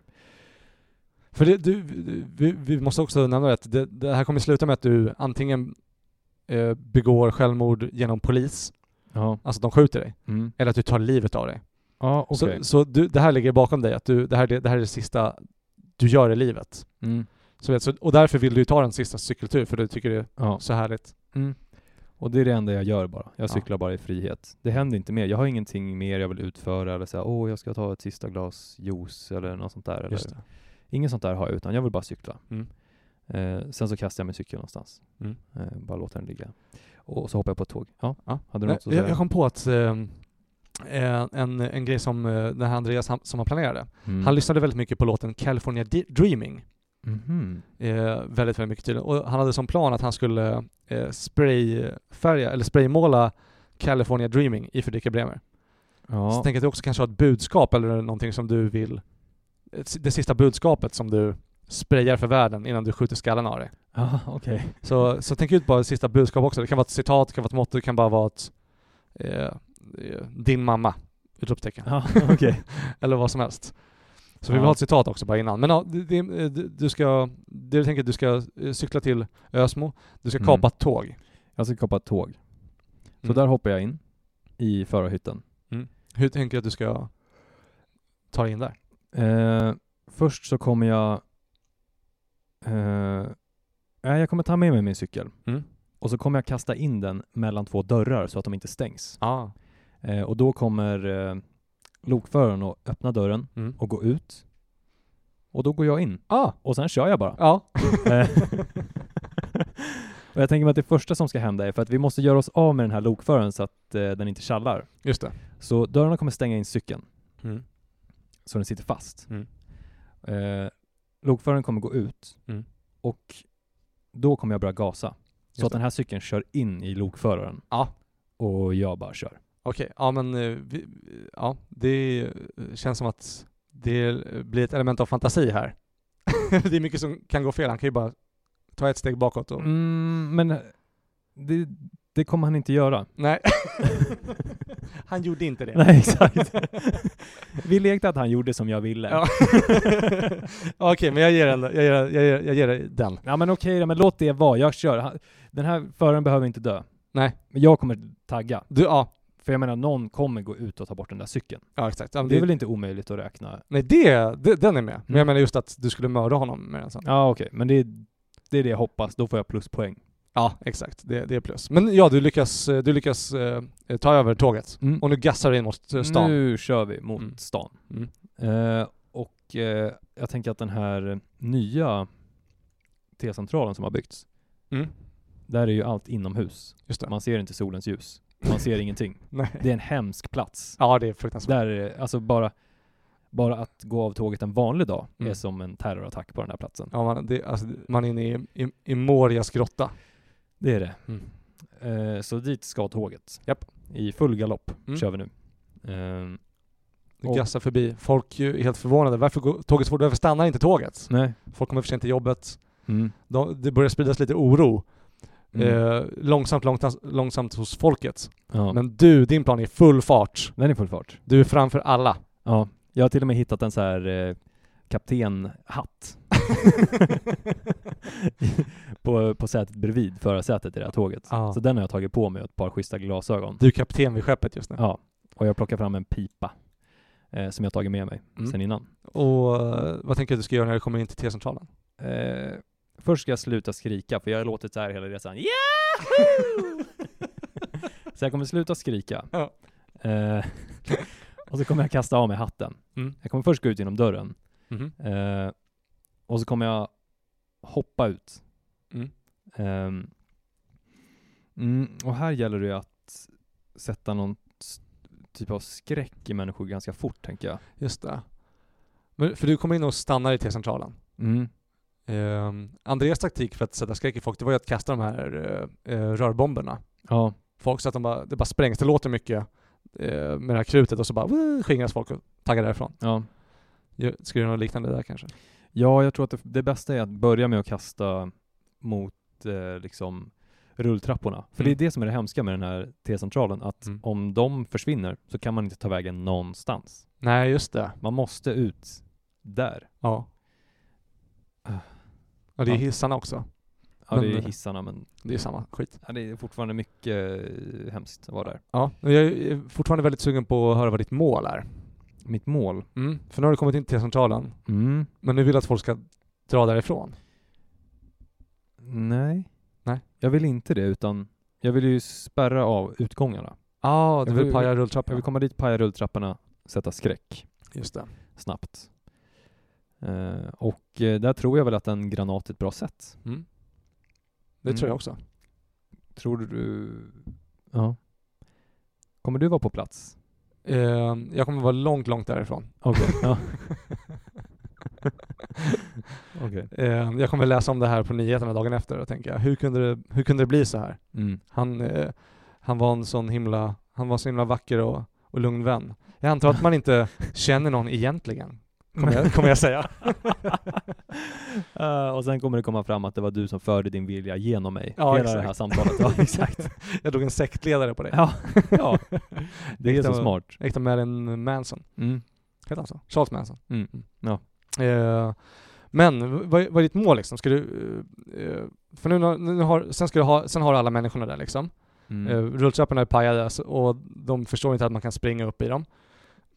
För det, du, du- vi, vi måste också nämna det att det, det här kommer sluta med att du antingen eh, begår självmord genom polis,
Ja,
alltså att de skjuter dig,
mm.
eller att du tar livet av dig.
ja okej.
Så, så du, det här ligger bakom dig, att du, det, här, är det, det här är det sista du gör i livet.
Mm.
Så, vet- så, och därför vill du ta den sista cykeltur, för du tycker det är
Ja.
så härligt.
Mm. Och det är det enda jag gör bara. Jag
Ja.
cyklar bara i frihet. Det händer inte mer. Jag har ingenting mer jag vill utföra eller säga åh, jag ska ta ett sista glas juice eller något sånt där. Eller.
Just det.
Inget sånt där har jag, utan jag vill bara cykla.
Mm.
Eh, sen så kastar jag min cykel någonstans.
Mm.
Eh, bara låter den ligga. Och så hoppar jag på ett tåg. Ja,
Ja.
hade du
Nej,
något att säga?
Jag, jag kom på att ehm, eh, en, en grej som eh, den här Andreas han, som han planerade.
Mm.
Han lyssnade väldigt mycket på låten California D- Dreaming.
Mhm.
Eh, väldigt, väldigt mycket tydligen. Och han hade som plan att han skulle eh, sprayfärga, eller spraymåla California Dreaming i Fredrika Bremer.
Ja.
Så jag tänker att du också kanske har ett budskap eller någonting som du vill, ett- det sista budskapet som du sprayar för världen innan du skjuter skallen av dig.
Ja, okej.
Så, så tänk ut bara ett sista budskap också. Det kan vara ett citat, det kan vara ett motto, det kan bara vara ett eh, eh, din mamma, utropstecken.
Ja, okej.
Eller vad som helst. Så vi
Ja.
vill ha ett citat också bara innan. Men ja, det, det, eh, du ska, det du tänker att du ska eh, cykla till Ösmo, du ska
Mm.
kapa ett tåg.
Jag ska kapa ett tåg. Så
Mm.
där hoppar jag in i förarhytten.
Hur tänker du att du ska ta dig in där?
Eh, först så kommer jag eh, Eh, Jag kommer ta med mig min cykel
Mm.
och så kommer jag kasta in den mellan två dörrar så att de inte stängs.
Ah.
Eh, Och då kommer eh, lokföraren att öppna dörren
Mm.
och gå ut. Och då går jag in.
Ah.
Och sen kör jag bara.
Ja.
Eh, och jag tänker mig att det första som ska hända är för att vi måste göra oss av med den här lokföraren så att eh, den inte tjallar.
Just det.
Så dörrarna kommer stänga in cykeln
Mm.
så den sitter fast.
Mm.
Eh, lokföraren kommer gå ut
Mm.
och då kommer jag börja gasa. Så
Just
att den här cykeln kör in i lokföraren
Ja.
och jag bara kör.
Okej, ja men eh, vi, ja, det eh, känns som att det eh, blir ett element av fantasi här. det är mycket som kan gå fel, han kan ju bara ta ett steg bakåt och...
Mm, men eh, det, det kommer han inte göra.
Nej. han gjorde inte det.
Nej, exakt. Vi lekte att han gjorde som jag ville.
Ja. Okej, men jag ger, en, jag, ger, jag, ger, jag ger dig den.
Ja men okej då, men låt det vara. Jag kör. Han- Den här föraren behöver inte dö.
Nej.
Men jag kommer tagga.
Du, ja.
För jag menar, någon kommer gå ut och ta bort den där cykeln.
Ja, exakt. Ja, men
Det är
det,
väl inte omöjligt att räkna?
nej, det, det, den är med. Men jag
Mm.
menar just att du skulle mörda honom med den sen.
Ja okej, men det är, det är det jag hoppas. Då får jag pluspoäng.
Ja, exakt. Det, det är plus. Men ja, du lyckas, eh, du lyckas eh, ta över tåget.
Mm.
Och nu gassar du in mot eh, stan.
Nu kör vi mot
Mm.
stan.
Mm.
Eh, och eh, jag tänker att den här nya T-centralen som har byggts,
Mm.
där är ju allt inomhus.
Just det.
Man ser inte solens ljus. Man ser ingenting.
Nej.
Det är en hemsk plats.
Ja, det är fruktansvärt.
Där, är det- alltså bara, bara att gå av tåget en vanlig dag är
Mm.
som en terrorattack på den här platsen.
Ja, man, det, alltså, man är inne i, i, i Morias grotta.
Det är det.
Mm.
Eh, så dit ska tåget.
Japp.
I full galopp
Mm.
kör vi nu. Eh,
Du
Och-
gassar förbi. Folk ju är helt förvånade. Varför går tåget så fort? Varför stannar inte tåget?
nej.
Folk kommer för sent till jobbet.
Mm.
De, det börjar spridas lite oro.
Mm.
Eh, långsamt, långsamt, långsamt hos folket.
Ja.
Men du, din plan är full fart.
Den är full fart.
Du är framför alla.
Ja, jag har till och med hittat en så här eh, kaptenhatt på, på sätet bredvid, förarsätet i det här tåget.
Ja.
Så den har jag tagit på mig och ett par schyssta glasögon.
Du är kapten vid skeppet just nu.
Ja, och jag plockar fram en pipa eh, som jag tagit med mig
Mm.
sen innan.
Och eh, vad tänker du att du ska göra när du kommer in till T-centralen?
Eh, först ska jag sluta skrika, för jag har låtit så här hela resan. Yahoo! så jag kommer sluta skrika.
Ja.
Eh, och så kommer jag kasta av mig hatten.
Mm.
Jag kommer först gå ut genom dörren
Mhm.
Eh, och så kommer jag hoppa ut.
Mm.
Ehm, mm, och här gäller det ju att sätta någon s- typ av skräck i människor ganska fort, tänker jag.
Just det. Men, för du kommer in och stannar i T-centralen. Ehm, Andreas taktik för att sätta skräck i folk, det var ju att kasta de här eh, eh, rörbomberna.
Ja,
Folk så att de bara, det bara sprängs, det låter mycket eh, med det här krutet och så bara "Woo!" skingras folk och taggar därifrån.
ja.
Gör- Ska du göra något liknande där kanske?
ja, jag tror att det, det bästa är att börja med att kasta mot eh, liksom rulltrapporna. För
Mm.
det är det som är det hemska med den här T-centralen, att
Mm.
om de försvinner så kan man inte ta vägen någonstans.
Nej, just det.
Man måste ut där.
Ja.
Ah.
Ja, det är
Ja.
hissarna också.
Ja, det är
Men- eh,
hissarna, men
Det är samma skit.
Ja, det är fortfarande mycket eh, hemskt att vara där.
Ja, men jag är fortfarande väldigt sugen på att höra vad ditt mål är.
Mitt mål?
För nu har du kommit in till centralen,
Mm.
men nu vill du att folk ska dra därifrån.
Nej.
Nej.
Jag vill inte det, utan jag vill ju spärra av utgångarna.
Ja,
Jag
du vill
vill-
paja
Jag
rulltrappan.
vill komma dit, paja rulltrapporna, sätta skräck
Just det.
snabbt. Eh, och eh, där tror jag väl att en granat är ett bra sätt.
Mm. Det
Mm.
tror jag också.
Tror du... Ja. Kommer du vara på plats?
Ehm, jag kommer vara långt, långt därifrån.
Okej. ja. Okej.
Eh, jag kommer läsa om det här på nyheterna dagen efter och tänka, hur kunde det, hur kunde det bli så här?
Mm.
Han, eh, han var en sån himla, han var så himla vacker och, och lugn vän. Jag antar att man inte känner någon egentligen, kommer jag, kommer jag säga.
Eh, och sen kommer det komma fram att det var du som förde din vilja genom mig.
Ja,
hela det
exakt.
här samtalet. Ja, exakt.
Jag drog en sektledare på dig.
ja, ja, det är
Äkta-
så smart.
Äkta med en Manson,
Mm.
heter han så? Charles Manson.
Mm. Ja.
Eh, men v- vad, är- vad är ditt mål liksom? Ska du, eh, eh, för nu, har- nu har, sen ska du ha, sen har du alla människorna där liksom.
Mm.
Mm. Rulltrapporna är pajade så- och de förstår inte att man kan springa upp i dem.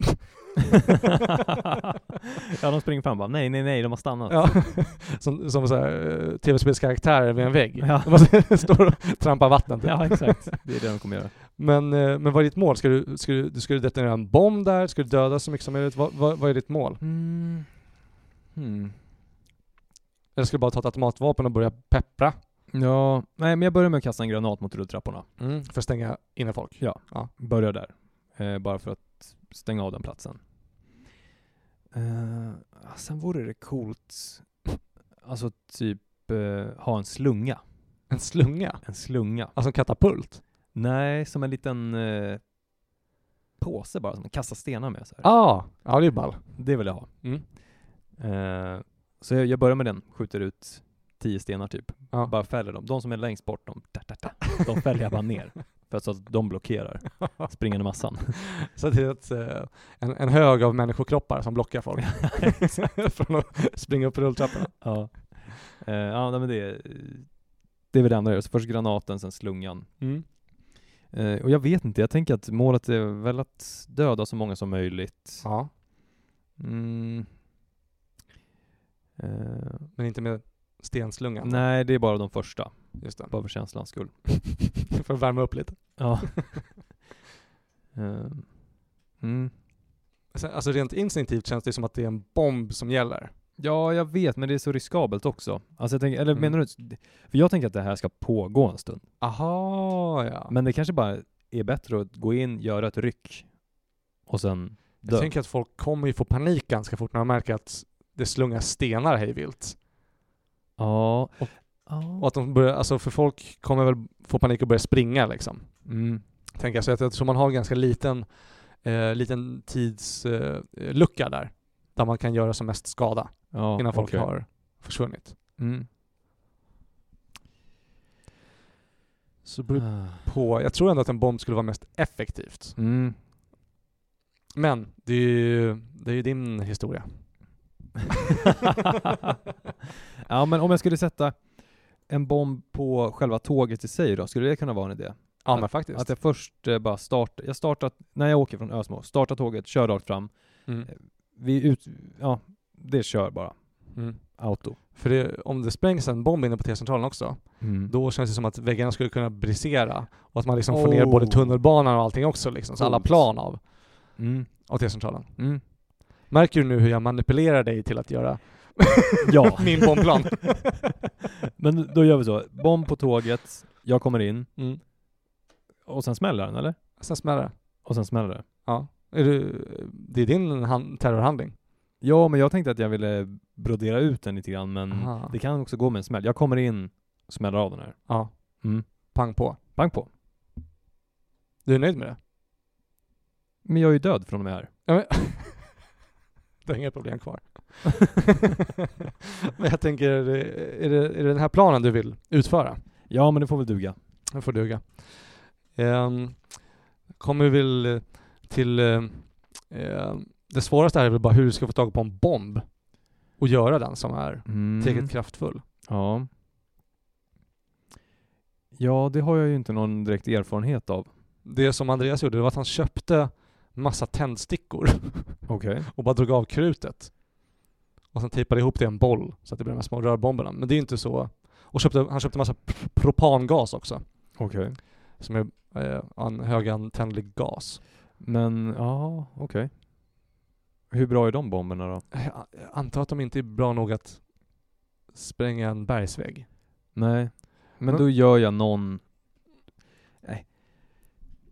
ja, de springer fram och bara nej, nej, nej, de har stannat.
Ja. Som, som så här, eh, tv-spelskaraktärer vid en vägg.
Ja.
De bara står och trampar vatten. typ.
Ja, exakt. Det är det de kommer göra.
Men, eh, men vad är ditt mål? Ska du, ska du, ska du detonera en bomb där? Ska du döda så mycket som möjligt? Vad, vad, vad är ditt mål?
Mm. Hmm.
Eller ska du bara ta ett automatvapen och börja peppra?
Ja, nej, men jag börjar med att kasta en granat mot rulltrapporna.
För att stänga inne folk?
Ja,
Ja.
börjar där. Eh, bara för att stänga av den platsen. Eh, ah, sen vore det coolt, alltså typ eh, ha en slunga.
En slunga?
En slunga.
Alltså en katapult?
Nej, som en liten eh, påse bara som man kastar stenar med. Så här.
Ja, ah, ja det är ball.
Det vill jag ha.
Mm.
Eh, så jag, jag börjar med den, skjuter ut tio stenar typ.
Ja.
Bara fäller dem. De som är längst bort, de, ta, ta, ta, de fäller jag bara ner. För att så att de blockerar springande massan.
Så det är ett, eh, en, en hög av människokroppar som blockar folk från att springa upp i rulltrapporna.
ja. Eh, ja, nej, men det, det är väl det andra jag gör. Så först granaten, sen slungan. Eh, och jag vet inte, jag tänker att målet är väl att döda så många som möjligt.
Ja,
Mm. Eh,
men inte med stenslungan.
nej, det är bara de första.
Just det.
Bara för känslans skull.
För att värma upp lite.
Ja. Eh, mm.
Sen, alltså rent instinktivt känns det som att det är en bomb som gäller.
Ja, jag vet, men det är så riskabelt också. Alltså jag tänker, eller
Mm.
menar du, för jag tänker att det här ska pågå en stund.
Aha, ja.
Men det kanske bara är bättre att gå in, göra ett ryck och sen
jag
dö.
tänker att folk kommer ju få panik ganska fort när de märker att det slungas stenar hejvilt.
Ja.
Och- Och
ja.
att de börjar, alltså för folk kommer väl få panik och börja springa liksom.
Mm.
Tänker jag. Så att jag tror man har en ganska liten, eh, liten tidslucka eh, lucka där. Där man kan göra som mest skada
ja
innan folk
okej.
har försvunnit.
Mm.
Så beror på, jag tror ändå att en bomb skulle vara mest effektivt.
Ah. Mm.
Men det är ju, det är ju din historia.
ja, men om jag skulle sätta en bomb på själva tåget i sig då, skulle det kunna vara en idé?
Ja men faktiskt.
Att jag först eh, bara startar, jag startar, när jag åker från Ösmo, startar tåget, kör rakt fram,
mm.
vi ut, ja, det kör bara,
Mm.
auto.
För det, om det sprängs en bomb inne på T-centralen också,
Mm.
då känns det som att väggarna skulle kunna brisera och att man liksom får ner
Oh.
både tunnelbanan och allting också liksom, så alla
Coolt.
plan av,
Mm.
av T-centralen.
Mm.
Märker du nu hur jag manipulerar dig till att göra
Ja,
min bombplan?
men då gör vi så, bomb på tåget, jag kommer in,
Mm.
och sen smäller den eller?
Sen smäller det.
Och sen smäller det.
Ja. Är du, det är din han, terrorhandling?
Ja, men jag tänkte att jag ville brodera ut den lite grann, men
Aha.
det kan också gå med en smäll. Jag kommer in, smäller av den här.
Ja.
Mm.
Pang på.
Pang på.
Du är nöjd med det?
Men jag är ju död från och med här.
Ja, men du har inga problem kvar. men jag tänker, är det, är det den här planen du vill utföra?
Ja, men det får väl duga.
Den får duga. Ehm, kommer vi väl till... eh, ehm, det svåraste här är väl bara hur du ska få tag på en bomb och göra den som är
Mm.
tillräckligt kraftfull.
Ja. Ja, det har jag ju inte någon direkt erfarenhet av.
Det som Andreas gjorde det var att han köpte massa tändstickor
Okej.
och bara drog av krutet. Och sen tejpade ihop det i en boll så att det blev de här små rörbomberna. Men det är ju inte så... Och köpte, han köpte massa pr- propangas också.
Okej.
Som är eh, en högantändlig gas.
Men, ja, okej. Hur bra är de bomberna då?
Jag antar att de inte är bra nog att spränga en bergsvägg.
Nej. Men
Mm.
då gör jag någon... Nej.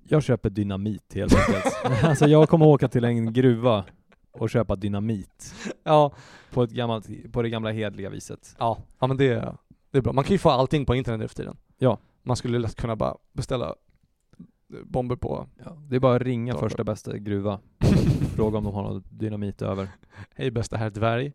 Jag köper dynamit helt enkelt. alltså jag kommer åka till en gruva och köpa dynamit.
Ja,
På, ett gammalt, på det gamla hedliga viset.
ja, ja men det, det är bra. Man kan ju få allting på internet nu för tiden.
Ja.
Man skulle lätt kunna bara beställa bomber på
Det är bara att ringa
Starta.
första bästa gruva. Fråga om de har någon dynamit över.
Hej bästa herr dvärg.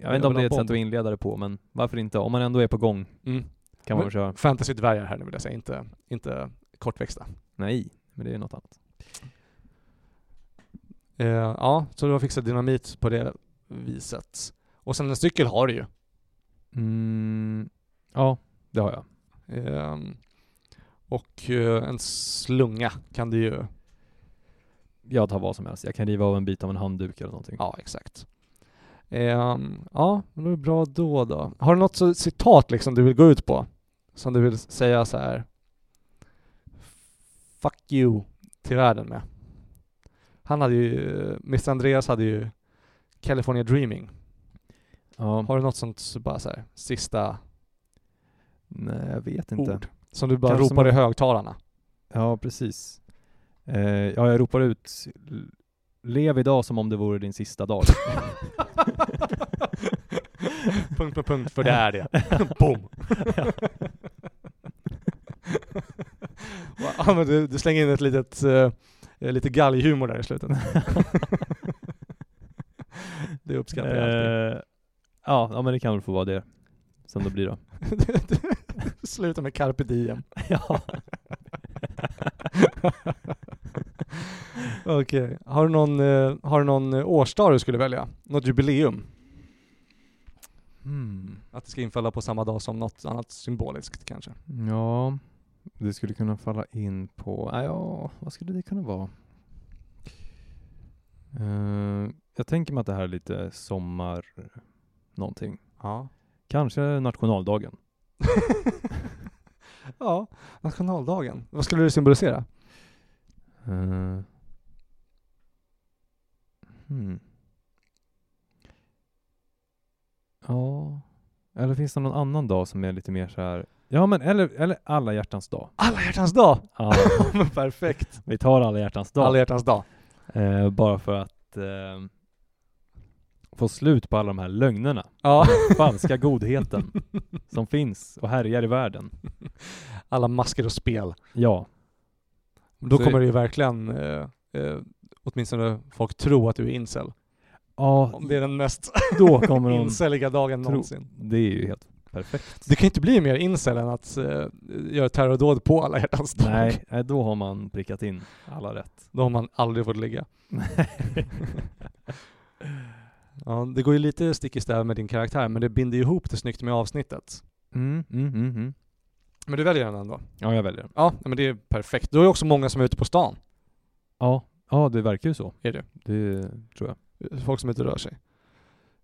Jag vet inte
vill
om det
ha
är ett sätt
bomb.
att inleda det på, men varför inte? Om man ändå är på gång
Mm.
kan
Men-
man väl köra?
Fantasy-dvärgar här nu vill jag säga, inte, inte kortväxta.
Nej, men det är något annat.
Eh, ja, så du har fixat dynamit på det viset. Och sen en cykel har du ju.
Mm, ja, det har jag.
Ehm, och eh, en slunga kan du ju
Jag tar vad som helst. Jag kan riva av en bit av en handduk eller någonting.
Ja, exakt. Ehm, ja, men det var bra då då. Har du något så, citat liksom du vill gå ut på? Som du vill säga så här Fuck you till världen med. Han hade ju, eh, Mr Andreas hade ju California Dreaming.
Mm. Ja.
Har du något sånt så bara så här sista
Nej, jag vet inte.
ord? Som du bara
Kanske som
ropar i
en-
högtalarna?
Ja, precis. Eh, ja, jag ropar ut l- Lev idag som om det vore din sista dag.
punkt på punkt, för det är det. Boom! ja, men du, du slänger in ett litet, eh, lite galghumor där i slutet. det uppskattar jag alltid.
Eh, ja, ja, men det kan väl få vara det som det blir då.
Sluta med carpe diem.
ja.
Okej. Har du någon, eh, har du någon eh, årsdag du skulle välja? Något jubileum?
Hmm.
Att det ska infalla på samma dag som något annat symboliskt kanske?
Ja, det skulle kunna falla in på, ah, ja, vad skulle det kunna vara? Eh, jag tänker mig att det här är lite sommar någonting.
Ja.
Kanske nationaldagen.
ja, nationaldagen. Vad skulle det symbolisera?
Eh, hmm. Ja, eller finns det någon annan dag som är lite mer så här? Ja, men eller, eller alla hjärtans dag.
Alla hjärtans dag!
Ja,
Men perfekt!
vi tar alla hjärtans dag.
Alla hjärtans dag.
Eh, bara för att eh, få slut på alla de här lögnerna,
Ja.
falska godheten som finns och härjar i världen.
Alla masker och spel.
Ja,
Då
Så-
kommer det ju verkligen, eh, eh, åtminstone folk tro att du är incel.
ja
Om det är den mest
då kommer de...
inceliga dagen
tro.
någonsin.
Det är ju helt perfekt.
Det kan ju inte bli mer incel än att eh, göra terrordåd på alla hjärtans dag.
Nej, eh, då har man prickat in alla rätt.
Då har man aldrig fått ligga.
Mm,
ja, det går ju lite stick i stäv med din karaktär, men det binder ju ihop det snyggt med avsnittet.
Mm, mm, mm, mm.
Men du väljer den ändå?
Ja, jag väljer den.
Ja, men det är perfekt. Du har ju också många som är ute på stan,
Ja, ja det verkar ju så.
är det.
Det tror jag.
Folk som inte rör sig.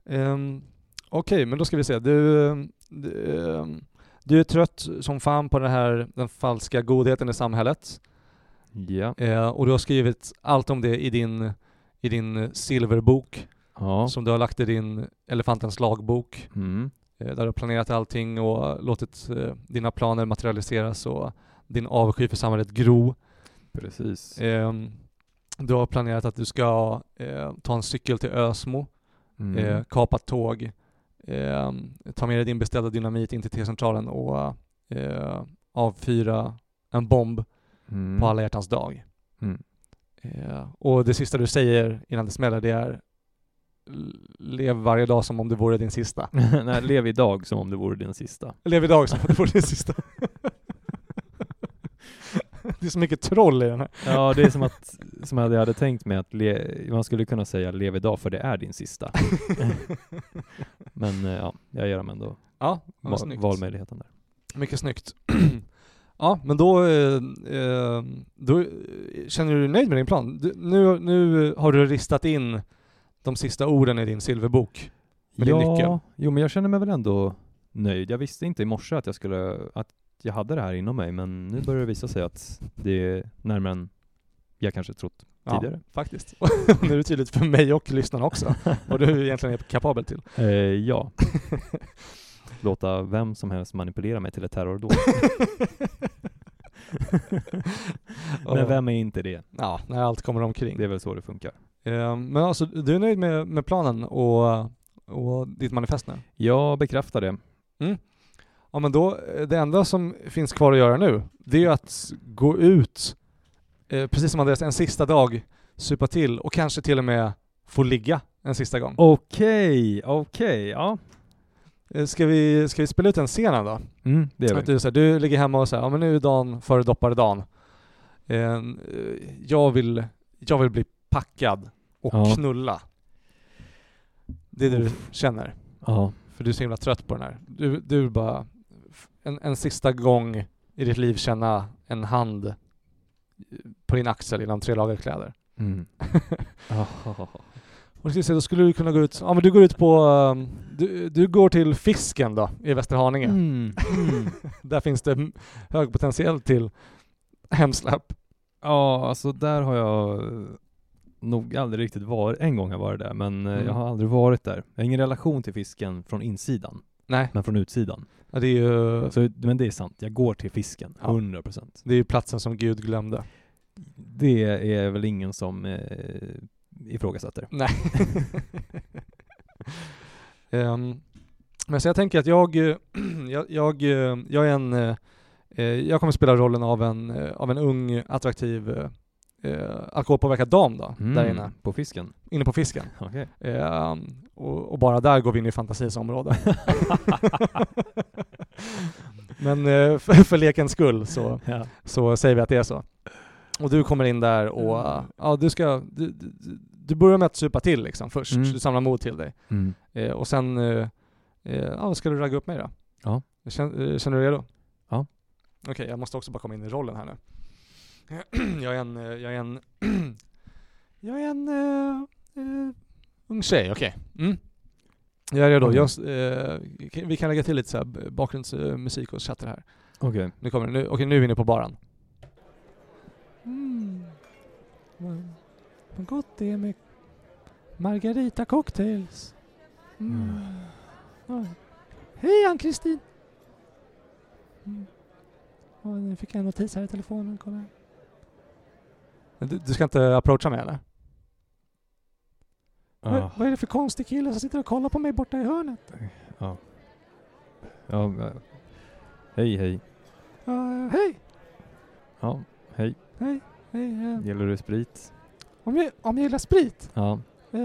Ehm, Okej, men då ska vi se. Du, ehm, du, ehm, du är trött som fan på den här den falska godheten i samhället.
Ja.
Eh, och du har skrivit allt om det i din, i din eh, silverbok
ja.
som du har lagt i din Elefantens lagbok.
Mm.
Eh, där du har planerat allting och låtit eh, dina planer materialiseras och din avsky för samhället gro.
Precis.
Ehm, du har planerat att du ska eh, ta en cykel till Ösmo,
Mm.
eh, kapa ett tåg, ehm, ta med dig din beställda dynamit in till T-centralen och eh, avfyra en bomb
Mm.
på alla hjärtans dag.
Mm.
Eh, och det sista du säger innan det smäller det är "L- Lev varje dag som om det vore din sista.
Nej, lev idag som om det vore din sista.
Lev idag som om det vore din sista. det är så mycket troll i den här.
Ja, det är som att, som jag hade tänkt mig att le, man skulle kunna säga lev idag för det är din sista. Men eh, ja, jag ger dem ändå
Ja, vad
val,
snyggt.
valmöjligheten där.
Mycket snyggt. ja, men då, eh, eh, då eh, känner du dig nöjd med din plan. Du, nu, nu har du ristat in de sista orden i din silverbok. Men det är nyckeln.
ja, jo men jag känner mig väl ändå nöjd. Jag visste inte i morse att jag skulle, att jag hade det här inom mig, men nu börjar det visa sig att det är närmare än jag kanske trott
Ja,
tidigare.
faktiskt. Och nu är det tydligt för mig och lyssnarna också vad du egentligen är kapabel till.
Eh, ja. Låta vem som helst manipulera mig till ett terrordåd. men
Och-
vem är inte det?
Ja, när allt kommer omkring.
Det är väl så det funkar.
Eh, Men alltså, du är nöjd med, med planen och, och ditt manifest nu?
Jag bekräftar det.
Ja men då, eh, det enda som finns kvar att göra nu, det är ju att gå ut, eh, precis som Andreas, en sista dag, supa till och kanske till och med få ligga en sista gång.
Okej, okej, ja.
Eh, Ska vi, ska vi spela ut en scen då?
Mm, det gör
Att
vi.
du, så här, du ligger hemma och säger ja men nu är dagen före dopparedagen. Eh, eh, jag, vill, jag vill bli packad och
Ja.
knulla. Det är det du känner.
Ja.
För du är så himla trött på den här. Du, du vill bara f- en, en sista gång i ditt liv känna en hand på din axel genom tre lager kläder.
Mm. Aha.
Och ska vi se, då skulle du kunna gå ut... Ja men du går ut på... ehm, Du, du går till Fisken då, i Västerhaninge.
Mm. Mm.
Där finns det m- hög potential till hemsläpp.
Ja, alltså där har jag eh, nog aldrig riktigt varit. En gång har jag varit där, men eh,
Mm.
jag har aldrig varit där. Jag har ingen relation till fisken från insidan,
Nej,
men från utsidan.
ja, det är ju...
Så, men det är sant, jag går till fisken,
Ja.
100%.
Det är ju platsen som Gud glömde.
Det är väl ingen som eh, ifrågasätter.
Nej. Ehm, men så jag tänker att jag, eh, jag, jag, eh, jag är en, eh, eh, jag kommer spela rollen av en, eh, av en ung attraktiv eh, eh, alkoholpåverkad dam då, där inne,
Mm. På fisken?
inne på fisken.
Okej.
Ehm, och, och bara där går vi in i fantasins område. Men eh, för, för lekens skull så,
Ja.
så säger vi att det är så. Och du kommer in där och
Mm.
eh, ja, du ska, du, du, du börjar med att supa till liksom först,
Mm.
så du samlar mod till dig. Eh, och sen eh, eh, ja, ska du ragga upp mig då.
Ja.
Känner, eh, känner du dig redo?
Ja.
Okej, jag måste också bara komma in i rollen här nu. jag är en, eh, jag är en, jag är en eh, eh, ung tjej, okej. Mm. Jag är redo.
Okej.
Jag, s- eh, kan- vi kan lägga till lite så här b- bakgrundsmusik och chatter här.
Okej.
Nu kommer det. Nu, okej, nu är vi inne på baren. Mm. Vad, vad gott det är med Margarita cocktails. Mm.
Mm.
Oj. Hej Ann-Kristin! Mm. Oj, nu fick jag en notis här i telefonen. Kolla. här. Men Du, du ska inte approacha mig eller? Vad,
Ah,
vad är det för konstig kille som sitter och kollar på mig borta i hörnet?
ja, ja. Hej, hej.
Ja, hej!
Ja, hej.
Hej! hej eh,
Gillar du sprit?
om, jag, om jag gillar sprit?
Ja.
Eh,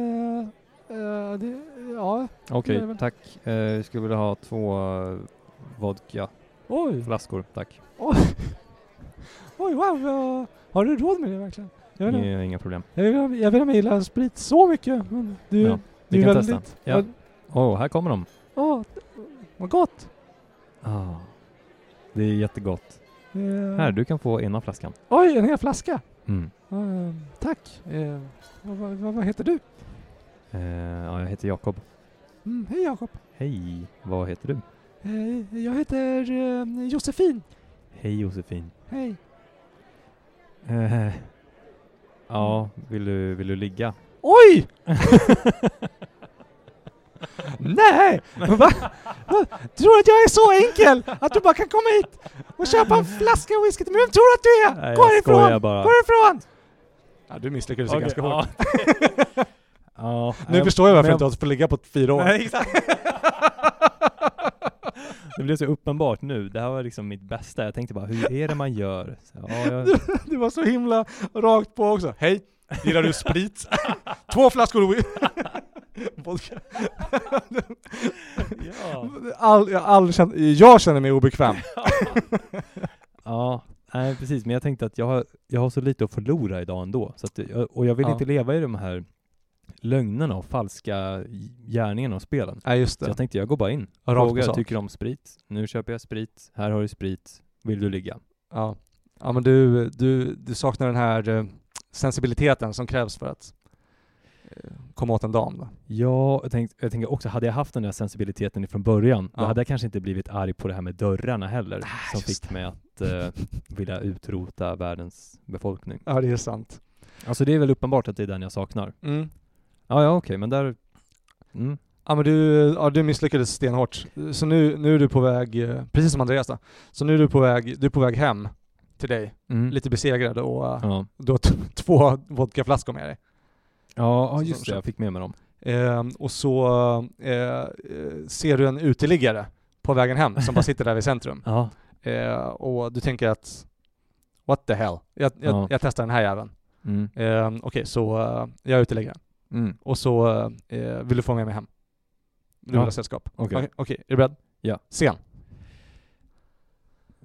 eh, det, ja,
Okej,
Det är väl-
tack. Eh, Jag skulle vilja ha två eh, vodkaflaskor,
oj!
tack.
Oj, wow! vad- har du råd med det verkligen? Jag vet, inte-
Inga, inga problem.
jag vet, inte- jag vet inte om jag gillar sprit så mycket, men du,
Ja,
du
Vi
är
kan
väldigt...
testa. Ja. Åh, här kommer de.
Åh, vad gott!
Ah. Det är jättegott.
Eh,
Här, du kan få ena flaskan.
Oj, en hel flaska!
Mm.
Eh, tack! Eh, vad, vad, vad, vad heter du?
Eh, ja, jag heter Jakob.
Mm, hej Jakob!
Hej, vad heter du?
Eh, jag heter eh, Josefin.
Hej Josefin.
Hej!
Eh, ja, vill du, vill du ligga?
Oj! Nej! Men Va? Va? Tror du att jag är så enkel att du bara kan komma hit och köpa en flaska whisky till mig? Vem tror du att du är?
Nej,
Gå
jag
härifrån!
skojar bara.
Gå härifrån! Ja, du misslyckades
Okej, ja. ja,
Nu
nej,
förstår jag varför
men
jag inte har fått ligga på fyra år.
Nej, exakt. Det blev så uppenbart nu. Det här var liksom mitt bästa. Jag tänkte bara, hur är det man gör? Så, ja, jag,
Det var så himla rakt på också. Hej, gillar du sprit? Två flaskor whisky. Vodka.
ja.
All, jag, all, kän- jag känner mig obekväm.
ja, nej precis. Men jag tänkte att jag har, jag har så lite att förlora idag ändå. Så att, jag- och jag vill
Ja.
inte leva i de här lögnerna och falska gärningarna och spelen.
Nej, just
Så jag tänkte, jag går bara in.
Rakt på
Fråga,
sak.
tycker du om sprit? Nu köper jag sprit. Här har du sprit. Vill du ligga?
Ja. ja, men du, du, du saknar den här eh, sensibiliteten som krävs för att eh, komma åt en dam. Då.
Ja, jag, tänkt, jag tänker också, hade jag haft den där sensibiliteten från början, då
Ja.
hade jag kanske inte blivit arg på det här med dörrarna heller, som
just
fick mig att eh, vilja utrota världens befolkning.
Ja, det är sant.
Alltså det är väl uppenbart att det är den jag saknar.
Mm.
Ja, ja, okej, men där... Mm.
Ja, men du, ja, du misslyckades stenhårt. Så nu, nu är du på väg, eh, precis som Andreas då, så nu är du på väg, du är på väg hem till dig,
Mm.
lite besegrad och eh,
Ja,
du har t- två vodkaflaskor med dig.
ja ja,
Så-
just
så-
det, jag fick med mig dem.
Ehm, och så eh, eh, ser du en uteliggare på vägen hem som bara sitter där vid centrum.
Ja,
Eh, och du tänker att what the hell, jag, jag,
Ja.
jag testar den här jäveln.
mm.
Eh, Okej, så eh, jag utelägger den.
Mm.
Och så eh, vill du få med mig hem. Du vill
Ja.
ha sällskap.
okej.
Okej, är du beredd?
Ja.
Scen.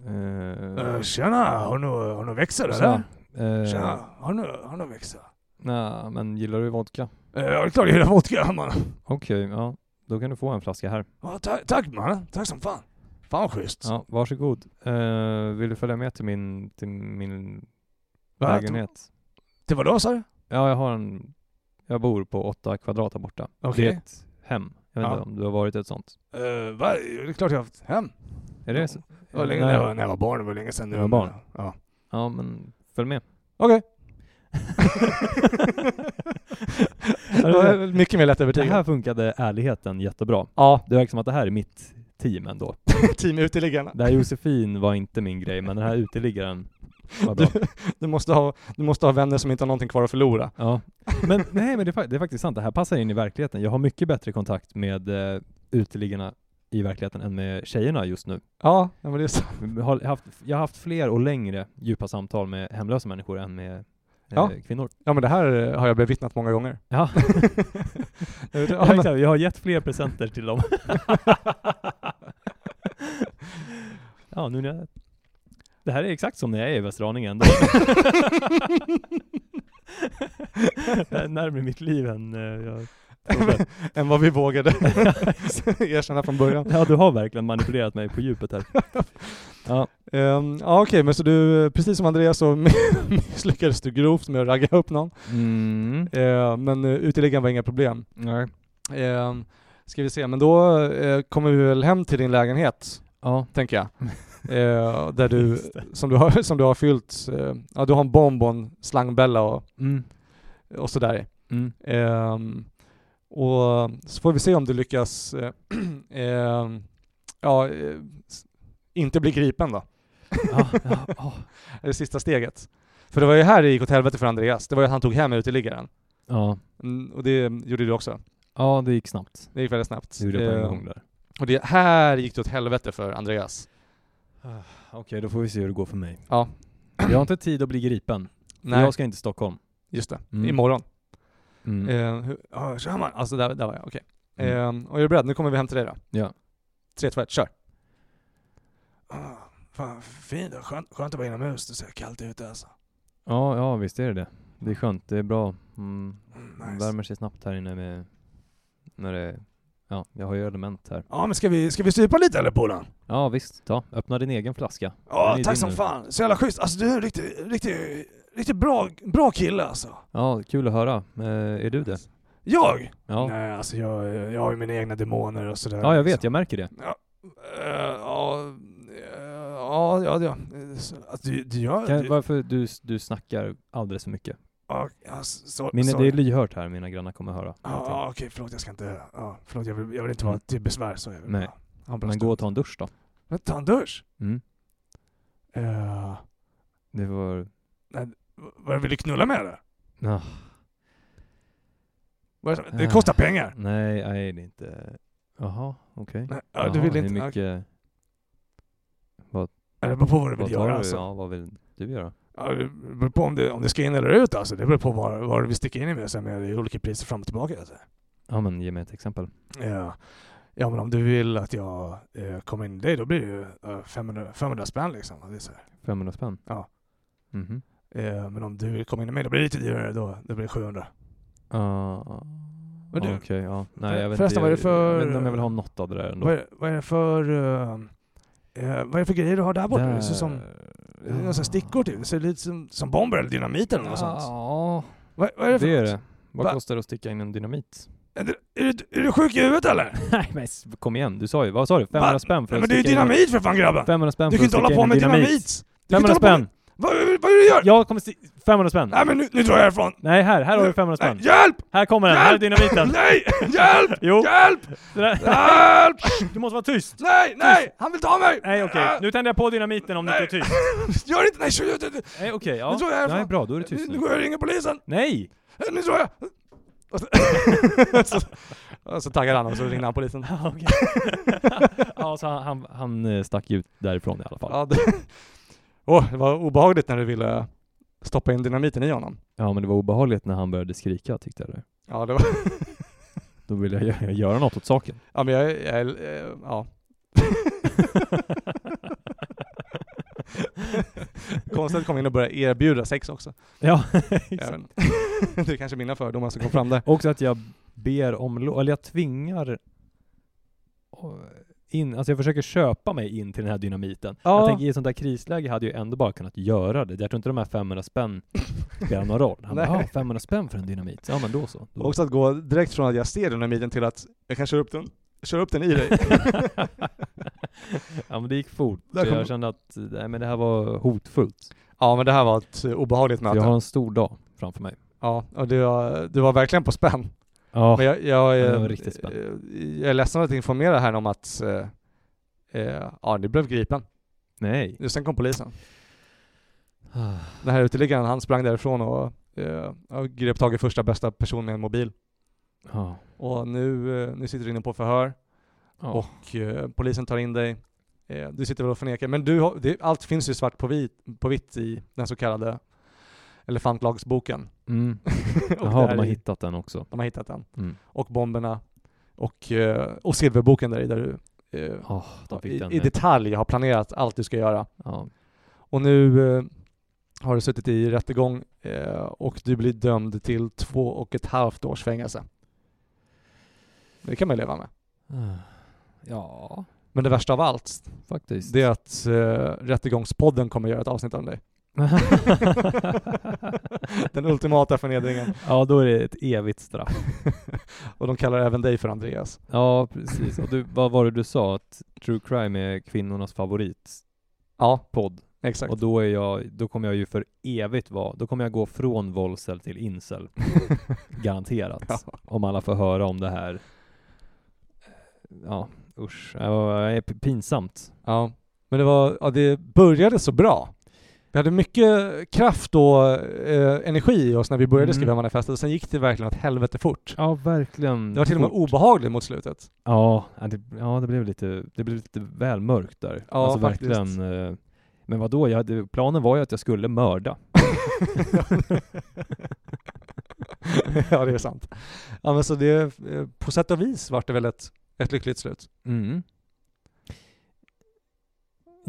Eh,
Äh, tjena, har du, har du växel
Tjena. Eh,
har du, har du växel?
Nej, men gillar du vodka?
Uh, jag är klar att gilla vodka man.
Okej, ja. Då kan du få en flaska här.
tack man, tack som fan. Fan vad schysst.
Ja, varsågod. Eh, Uh, vill du följa med till min, till min
Va?
lägenhet?
Till vad då sa du?
Ja, jag har en... Jag bor på åtta kvadrat här borta. Det är
Okej.
ett hem. Jag vet
Ja.
inte om du har varit i ett sånt?
Uh, va? Det är klart jag har haft hem.
Är det så?
Det var länge,
Nej.
när, jag var, när jag var barn, det var länge sedan.
När du var barn?
Ja.
Ja, men följ med.
Okej.
det
det
är-
var mycket mer
Det
lättövertygad.
här funkade ärligheten jättebra.
Ja,
Det verkar som att det här är mitt team ändå.
team uteliggarna.
Det här Josefin var inte min grej, men den här uteliggaren var bra.
Du måste, ha, du måste ha vänner som inte har någonting kvar att förlora.
Ja. Men nej, men det är, fa- det är faktiskt sant. Det här passar in i verkligheten. Jag har mycket bättre kontakt med eh, uteliggarna i verkligheten än med tjejerna just nu.
Ja, ja, men det är så.
Jag har haft, jag har haft fler och längre djupa samtal med hemlösa människor än med eh,
Ja.
kvinnor.
Ja men det här eh, har jag bevittnat många gånger.
Ja,
Jag vet-
ja
ja, men,
exakt. Jag har gett fler presenter till dem. ja, nu när jag... Det här är exakt som när jag är i Västerhaninge ändå. det här är närmare mitt liv än eh, jag trodde.
än vad vi vågade erkänna från början.
Ja, du har verkligen manipulerat mig på djupet här. Ja,
Ehm, ja okej, men så du, eh, precis som Andreas så misslyckades du grovt med att ragga upp någon.
mm,
Eh, men uh, uteliggaren var inga problem.
nej.
Uh, ska vi se, men då eh, kommer vi väl hem till din lägenhet,
ja,
tänker jag. Eh, där du,
just det.
som du har, som du har fyllt, eh, ja du har en bomb och en slangbella och,
Mm,
och sådär i.
mm,
Ehm, och så får vi se om du lyckas eh, ehm, ja, eh, s- inte bli gripen då.
ja, ja, ja,
Det är sista steget. För det var ju här det gick åt helvete för Andreas. Det var ju att han tog hem uteliggaren.
ja,
Mm, och det gjorde du också.
ja, det gick snabbt. Eh,
Det gick väldigt snabbt.
Det gjorde jag på en
Ehm,
gång där.
och det, här gick det åt helvete för Andreas.
Ah, Okej, då får vi se hur det går för mig.
Ja.
Jag har inte tid att bli gripen. för
Nej,
Jag ska inte till Stockholm.
just det.
Mm.
Imorgon.
Mm.
Ehm, hur, ja, kör man? Alltså där, där var jag, okej.
Mm.
Ehm, och är du beredd? Nu kommer vi hem till dig då.
Ja.
3, 2, 1, kör. Ah, fan, fint. Skönt, skönt att vara inomhus. Det ser kallt ut alltså.
Ja, ja, visst är det det. Det är skönt, det är bra. Mm.
Mm,
man
nice.
Värmer sig snabbt här inne med... När det... Ja, jag har ju element här.
Ja men ska vi, ska vi supa lite eller polaren?
Ja, visst. Ta. Öppna din egen flaska.
Ja
Den är
tack
din
som
nu.
fan, så jävla schysst. Alltså du är en riktigt, riktigt, riktigt bra, bra kille alltså.
Ja, kul att höra. Eh, är du det?
Jag?
Ja.
Nej alltså jag, jag har ju mina egna demoner och sådär.
ja, jag vet. Jag märker det.
Eh, ja, eh, ja, ja, ja. Eh, så- Alltså, du, du gör...
Kan,
Du,
varför du, du snackar alldeles för mycket?
ja, ja, så,
Mina,
så,
det är lyhört här, mina grannar kommer höra.
Ja,
allting.
ja, okej, förlåt jag ska inte... Ja, förlåt jag vill, jag vill inte vara till besvär så. Jag vill,
Mm. Nej.
bara- ha en bra
Men
stund.
gå och ta en dusch då.
Men ta en dusch.
Mm.
Eh,
Det var...
vad vill du knulla med det?
Ah,
Vad- Det
Ah.
kostar pengar.
nej, nej, det är inte... Jaha, okej.
Nej, ja, du
Jaha,
vill
hur
inte... Mycket...
mycket...
Det beror på vad du
Vad
vill
tar
göra
du?
alltså.
Ja, vad vill du göra?
Ja, det beror på om det, om det ska in eller ut alltså. Det beror på vad, vad vi sticker in i med. Sen är det olika priser fram och tillbaka. Alltså.
Ja men ge mig ett exempel.
Ja. ja, men om du vill att jag eh, kommer in i dig, då blir det ju eh, 500, 500 spänn liksom. Och Det är så här.
500 spänn?
Ja.
Mhm.
Eh, men om du vill komma in i mig, då blir det lite dyrare. Då, då blir det 700.
Ah,
Men du-
Okej, ja. Nej, jag vet
Förresten,
inte.
vad är det för-
Jag vet inte om jag vill ha något av det där ändå.
Vad är, vad är det för... eh, eh, vad är det för grejer du har där borta? Det ser ut som det är några sån här stickor typ. Det ser lite som, som bomber eller dynamit eller något sånt.
Ah. Ja,
Vad, vad är det för
det är
något?
det. Vad
Va?
kostar det att sticka in en dynamit?
Är, du, är, du, är du sjuk i huvudet eller?
Nej men s- kom igen, du sa ju, vad sa du? 500 spänn för
Nej,
att
men det är ju
sticka in en-
dynamit för fan grabben!
500 spänn
Du
för
kan
att
inte hålla
sticka
på
in
med
en dynamit.
dynamit! Du kan inte
500
hålla på
spänn!
Vad, vad är det du gör?
Jag kommer sti- 500 spänn!
Nej men nu, nu drar jag härifrån!
Nej här, här har du 500
Nej,
spänn.
hjälp!
Här kommer den, här är dynamiten.
Nej! Hjälp!
Jo,
Hjälp!
det där.
Hjälp!
du måste vara tyst.
Nej, nej! Han vill ta mig!
Nej okej, nu tänder jag på dynamiten om du inte är tyst.
Gör inte! Nej, tjur, tjur, tjur.
Nej okej, ja.
Nu tror jag
Nej
härifrån.
bra, då är du
Nu,
tyst
nu
nu.
går jag och ringer polisen!
Nej!
Eh, Nu tror jag! Och så, och så taggade han och så ringde han polisen.
Ja, okej. ja, så han, han, han eh, stack ut därifrån i alla fall.
Ja, det, Åh, det var obehagligt när du ville stoppa in dynamiten i honom.
Ja, men det var obehagligt när han började skrika tyckte jag. det.
Ja, det var...
Då ville jag gö- göra något åt saken.
Ja, men jag... jag eh, ja. Konstigt att komma in och börja erbjuda sex också.
Ja,
Jag vet inte. det är kanske mina fördomar som kom fram där.
också att jag ber om lov, eller jag tvingar eh, in, alltså jag försöker köpa mig in till den här dynamiten.
Ja.
Jag tänker i ett sånt där krisläge hade jag ändå bara kunnat göra det. Jag tror inte de här 500 spänn spelar någon roll. Han bara,
Nej.
"Ah, 500 spänn för en dynamit. Ja men då så. Då.
Också att gå direkt från att jag ser dynamiten till att jag kan köra upp den, köra upp den i dig.
ja men det gick fort.
Där
Så
kom-
jag kände att nej, men det här var hotfullt.
ja men det här var ett eh, obehagligt
För
möte.
jag har en stor dag framför mig.
Ja, och du var, du var verkligen på spänn.
Ja,
Men jag, jag,
Ja, det
eh,
var riktigt spänd.
eh, jag är ledsen att informera här om att eh, eh, ja, du blev gripen.
nej.
Sen kom polisen. Den här uteliggaren, han sprang därifrån och, eh, och grep tag i första bästa person med en mobil.
Ja.
Och nu, eh, nu sitter du inne på förhör
Ja.
och eh, polisen tar in dig. Eh, du sitter väl och förnekar, men du har, det, allt finns ju svart på, vit, på vitt i den så kallade elefantlagsboken.
Mm.
Och
Jaha,
där
de har
i-
hittat den också.
de har hittat den.
Mm.
Och bomberna och, eh, och silverboken där i, där du eh,
Ja, de fick
i,
den.
i
med.
detalj har planerat allt du ska göra.
ja.
Och nu eh, har du suttit i rättegång eh, och du blir dömd till två och ett halvt års fängelse. Det kan man ju leva med.
ja,
Men det värsta av allt,
faktiskt.
det är att eh, Rättegångspodden kommer göra ett avsnitt om dig. Den ultimata förnedringen.
ja, då är det ett evigt straff.
Och de kallar även dig för Andreas.
Ja, precis. Och du, vad var det du sa? Att true crime är kvinnornas favoritpodd.
Ja, exakt.
Och då, är jag, då kommer jag ju för evigt vara, då kommer jag gå från volsel till incel. Garanterat.
Ja.
Om alla får höra om det här. Ja, usch. Ja, det är pinsamt.
Ja, men det var, ja, det började så bra. Vi hade mycket kraft och eh, energi i oss när vi började
Mm.
skriva manifestet, sen gick det verkligen åt helvete fort.
Ja, verkligen.
Det var till och med obehagligt mot slutet.
Ja, ja, det, ja det, blev lite, det blev lite väl mörkt där.
Ja,
alltså
faktiskt.
verkligen. eh, Men vadå, jag hade, planen var ju att jag skulle mörda.
ja, det är sant. Ja, men så det, eh, på sätt och vis vart det väl ett, ett lyckligt slut.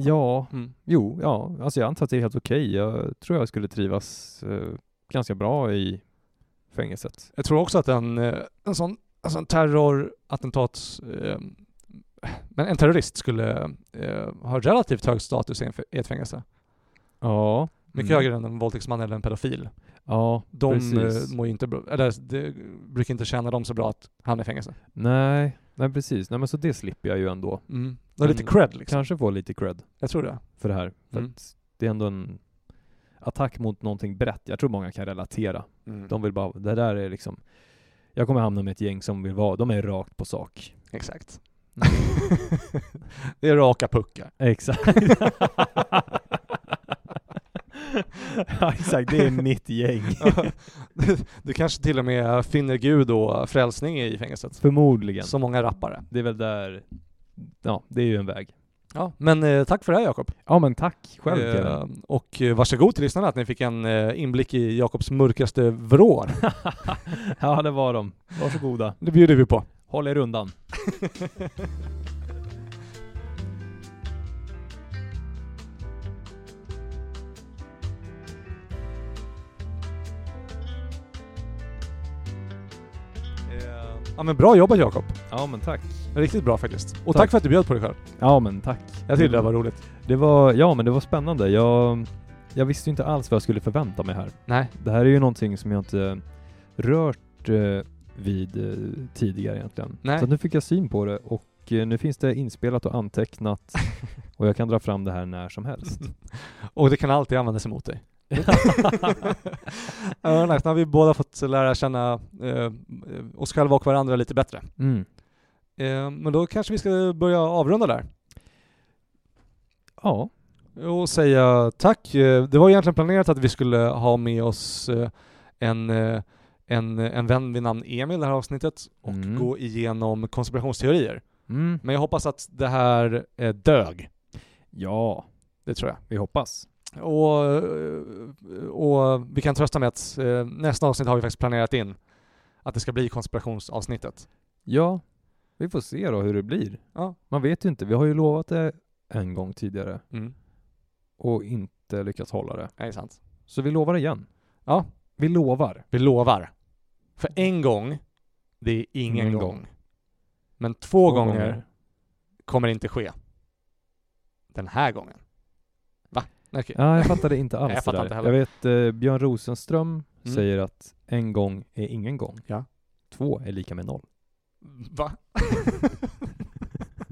Ja,
Mm.
jo, ja. Alltså jag antar att det är helt okej. Jag tror jag skulle trivas eh, ganska bra i fängelset.
Jag tror också att en, eh, en sån alltså en terrorattentats... Eh, men en terrorist skulle eh, ha relativt hög status i en f- i ett fängelse.
Ja.
Mycket
Mm.
högre än en våldtäktsman eller en pedofil.
Ja,
De
precis.
eh, mår ju inte bra, eller det brukar inte känna dem så bra att hamna i fängelse.
Nej, nej precis. Nej men så det slipper jag ju ändå.
Mm. Det är
Men-
lite cred liksom.
Kanske få lite cred
Jag tror det.
för det här. För
Mm.
att det är ändå en attack mot någonting brett. Jag tror många kan relatera. De vill bara, det där är liksom Jag kommer hamna med ett gäng som vill vara, de är rakt på sak.
Exakt. det är raka puckar.
Exakt. ja, exakt, det är mitt gäng.
du kanske till och med finner Gud och frälsning i fängelset.
Förmodligen.
Som många rappare.
Det är väl där, ja, det är ju en väg.
Ja, men eh, tack för det här Jakob.
Ja men tack själv Kevin.
eh, Och eh, varsågod till lyssnarna att ni fick en eh, inblick i Jakobs mörkaste vrår.
Ja det var de. Varsågoda.
Det bjuder vi på.
Håll er undan. Eh,
Ja men bra jobbat Jakob.
Ja men tack.
Riktigt bra faktiskt. Och tack,
Tack.
för att du bjöd på dig själv.
Ja men tack.
Jag tyckte det var roligt.
Det var, ja men det var spännande. Jag, jag visste ju inte alls vad jag skulle förvänta mig här.
Nej.
Det här är ju någonting som jag inte rört eh, vid eh, tidigare egentligen.
Nej.
Så att nu fick jag syn på det och eh, nu finns det inspelat och antecknat och jag kan dra fram det här när som helst.
Och det kan alltid användas emot dig. Ja, vad nice. Nu har vi båda fått lära känna eh, oss själva och varandra lite bättre.
Mm.
Eh, men då kanske vi ska börja avrunda där
Ja,
och säga tack. Eh, Det var egentligen planerat att vi skulle ha med oss eh, en, eh, en, en vän vid namn Emil det här avsnittet och
Mm.
gå igenom konspirationsteorier.
mm.
Men jag hoppas att det här eh, dög.
ja,
Det tror jag.
vi hoppas.
Och, eh, och vi kan trösta med att eh, nästa avsnitt har vi faktiskt planerat in att det ska bli konspirationsavsnittet.
Ja, vi får se då hur det blir.
Ja.
Man vet ju inte, vi har ju lovat det en gång tidigare
Mm.
och inte lyckats hålla det.
Det är sant.
Så vi lovar igen.
Ja,
Vi lovar.
vi lovar. För en gång, det är ingen
Ingen
gång.
gång.
Men två, gånger, kommer inte ske. Den här gången. Va? Nej, okej.
Ja, jag fattade inte alls
Nej, jag
det
fattar
där.
inte
jag
heller.
vet eh, Björn Rosenström
Mm.
säger att en gång är ingen gång.
Ja.
Två är lika med noll.
Va?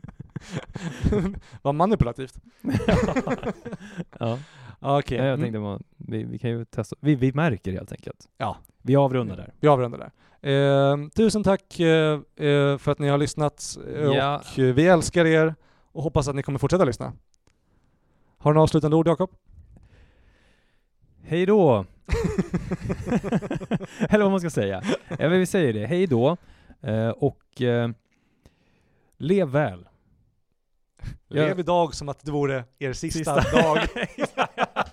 Vad manipulativt.
ja.
Ja, Okej.
Nej, jag
Mm.
tänkte man, vi, vi kan ju testa. Vi, vi märker helt enkelt.
Ja.
Vi avrundar där.
Mm. Vi avrundar där. Eh, tusen tack eh, eh, för att ni har lyssnat eh,
Ja.
och eh, vi älskar er och hoppas att ni kommer fortsätta lyssna. Har du några avslutande ord Jakob?
Hej då! Eller vad man ska säga. Ja, men vi säger det. Hej då. Eh, och eh, lev väl. Ja.
Lev idag som att det vore er sista.
Sista.
dag.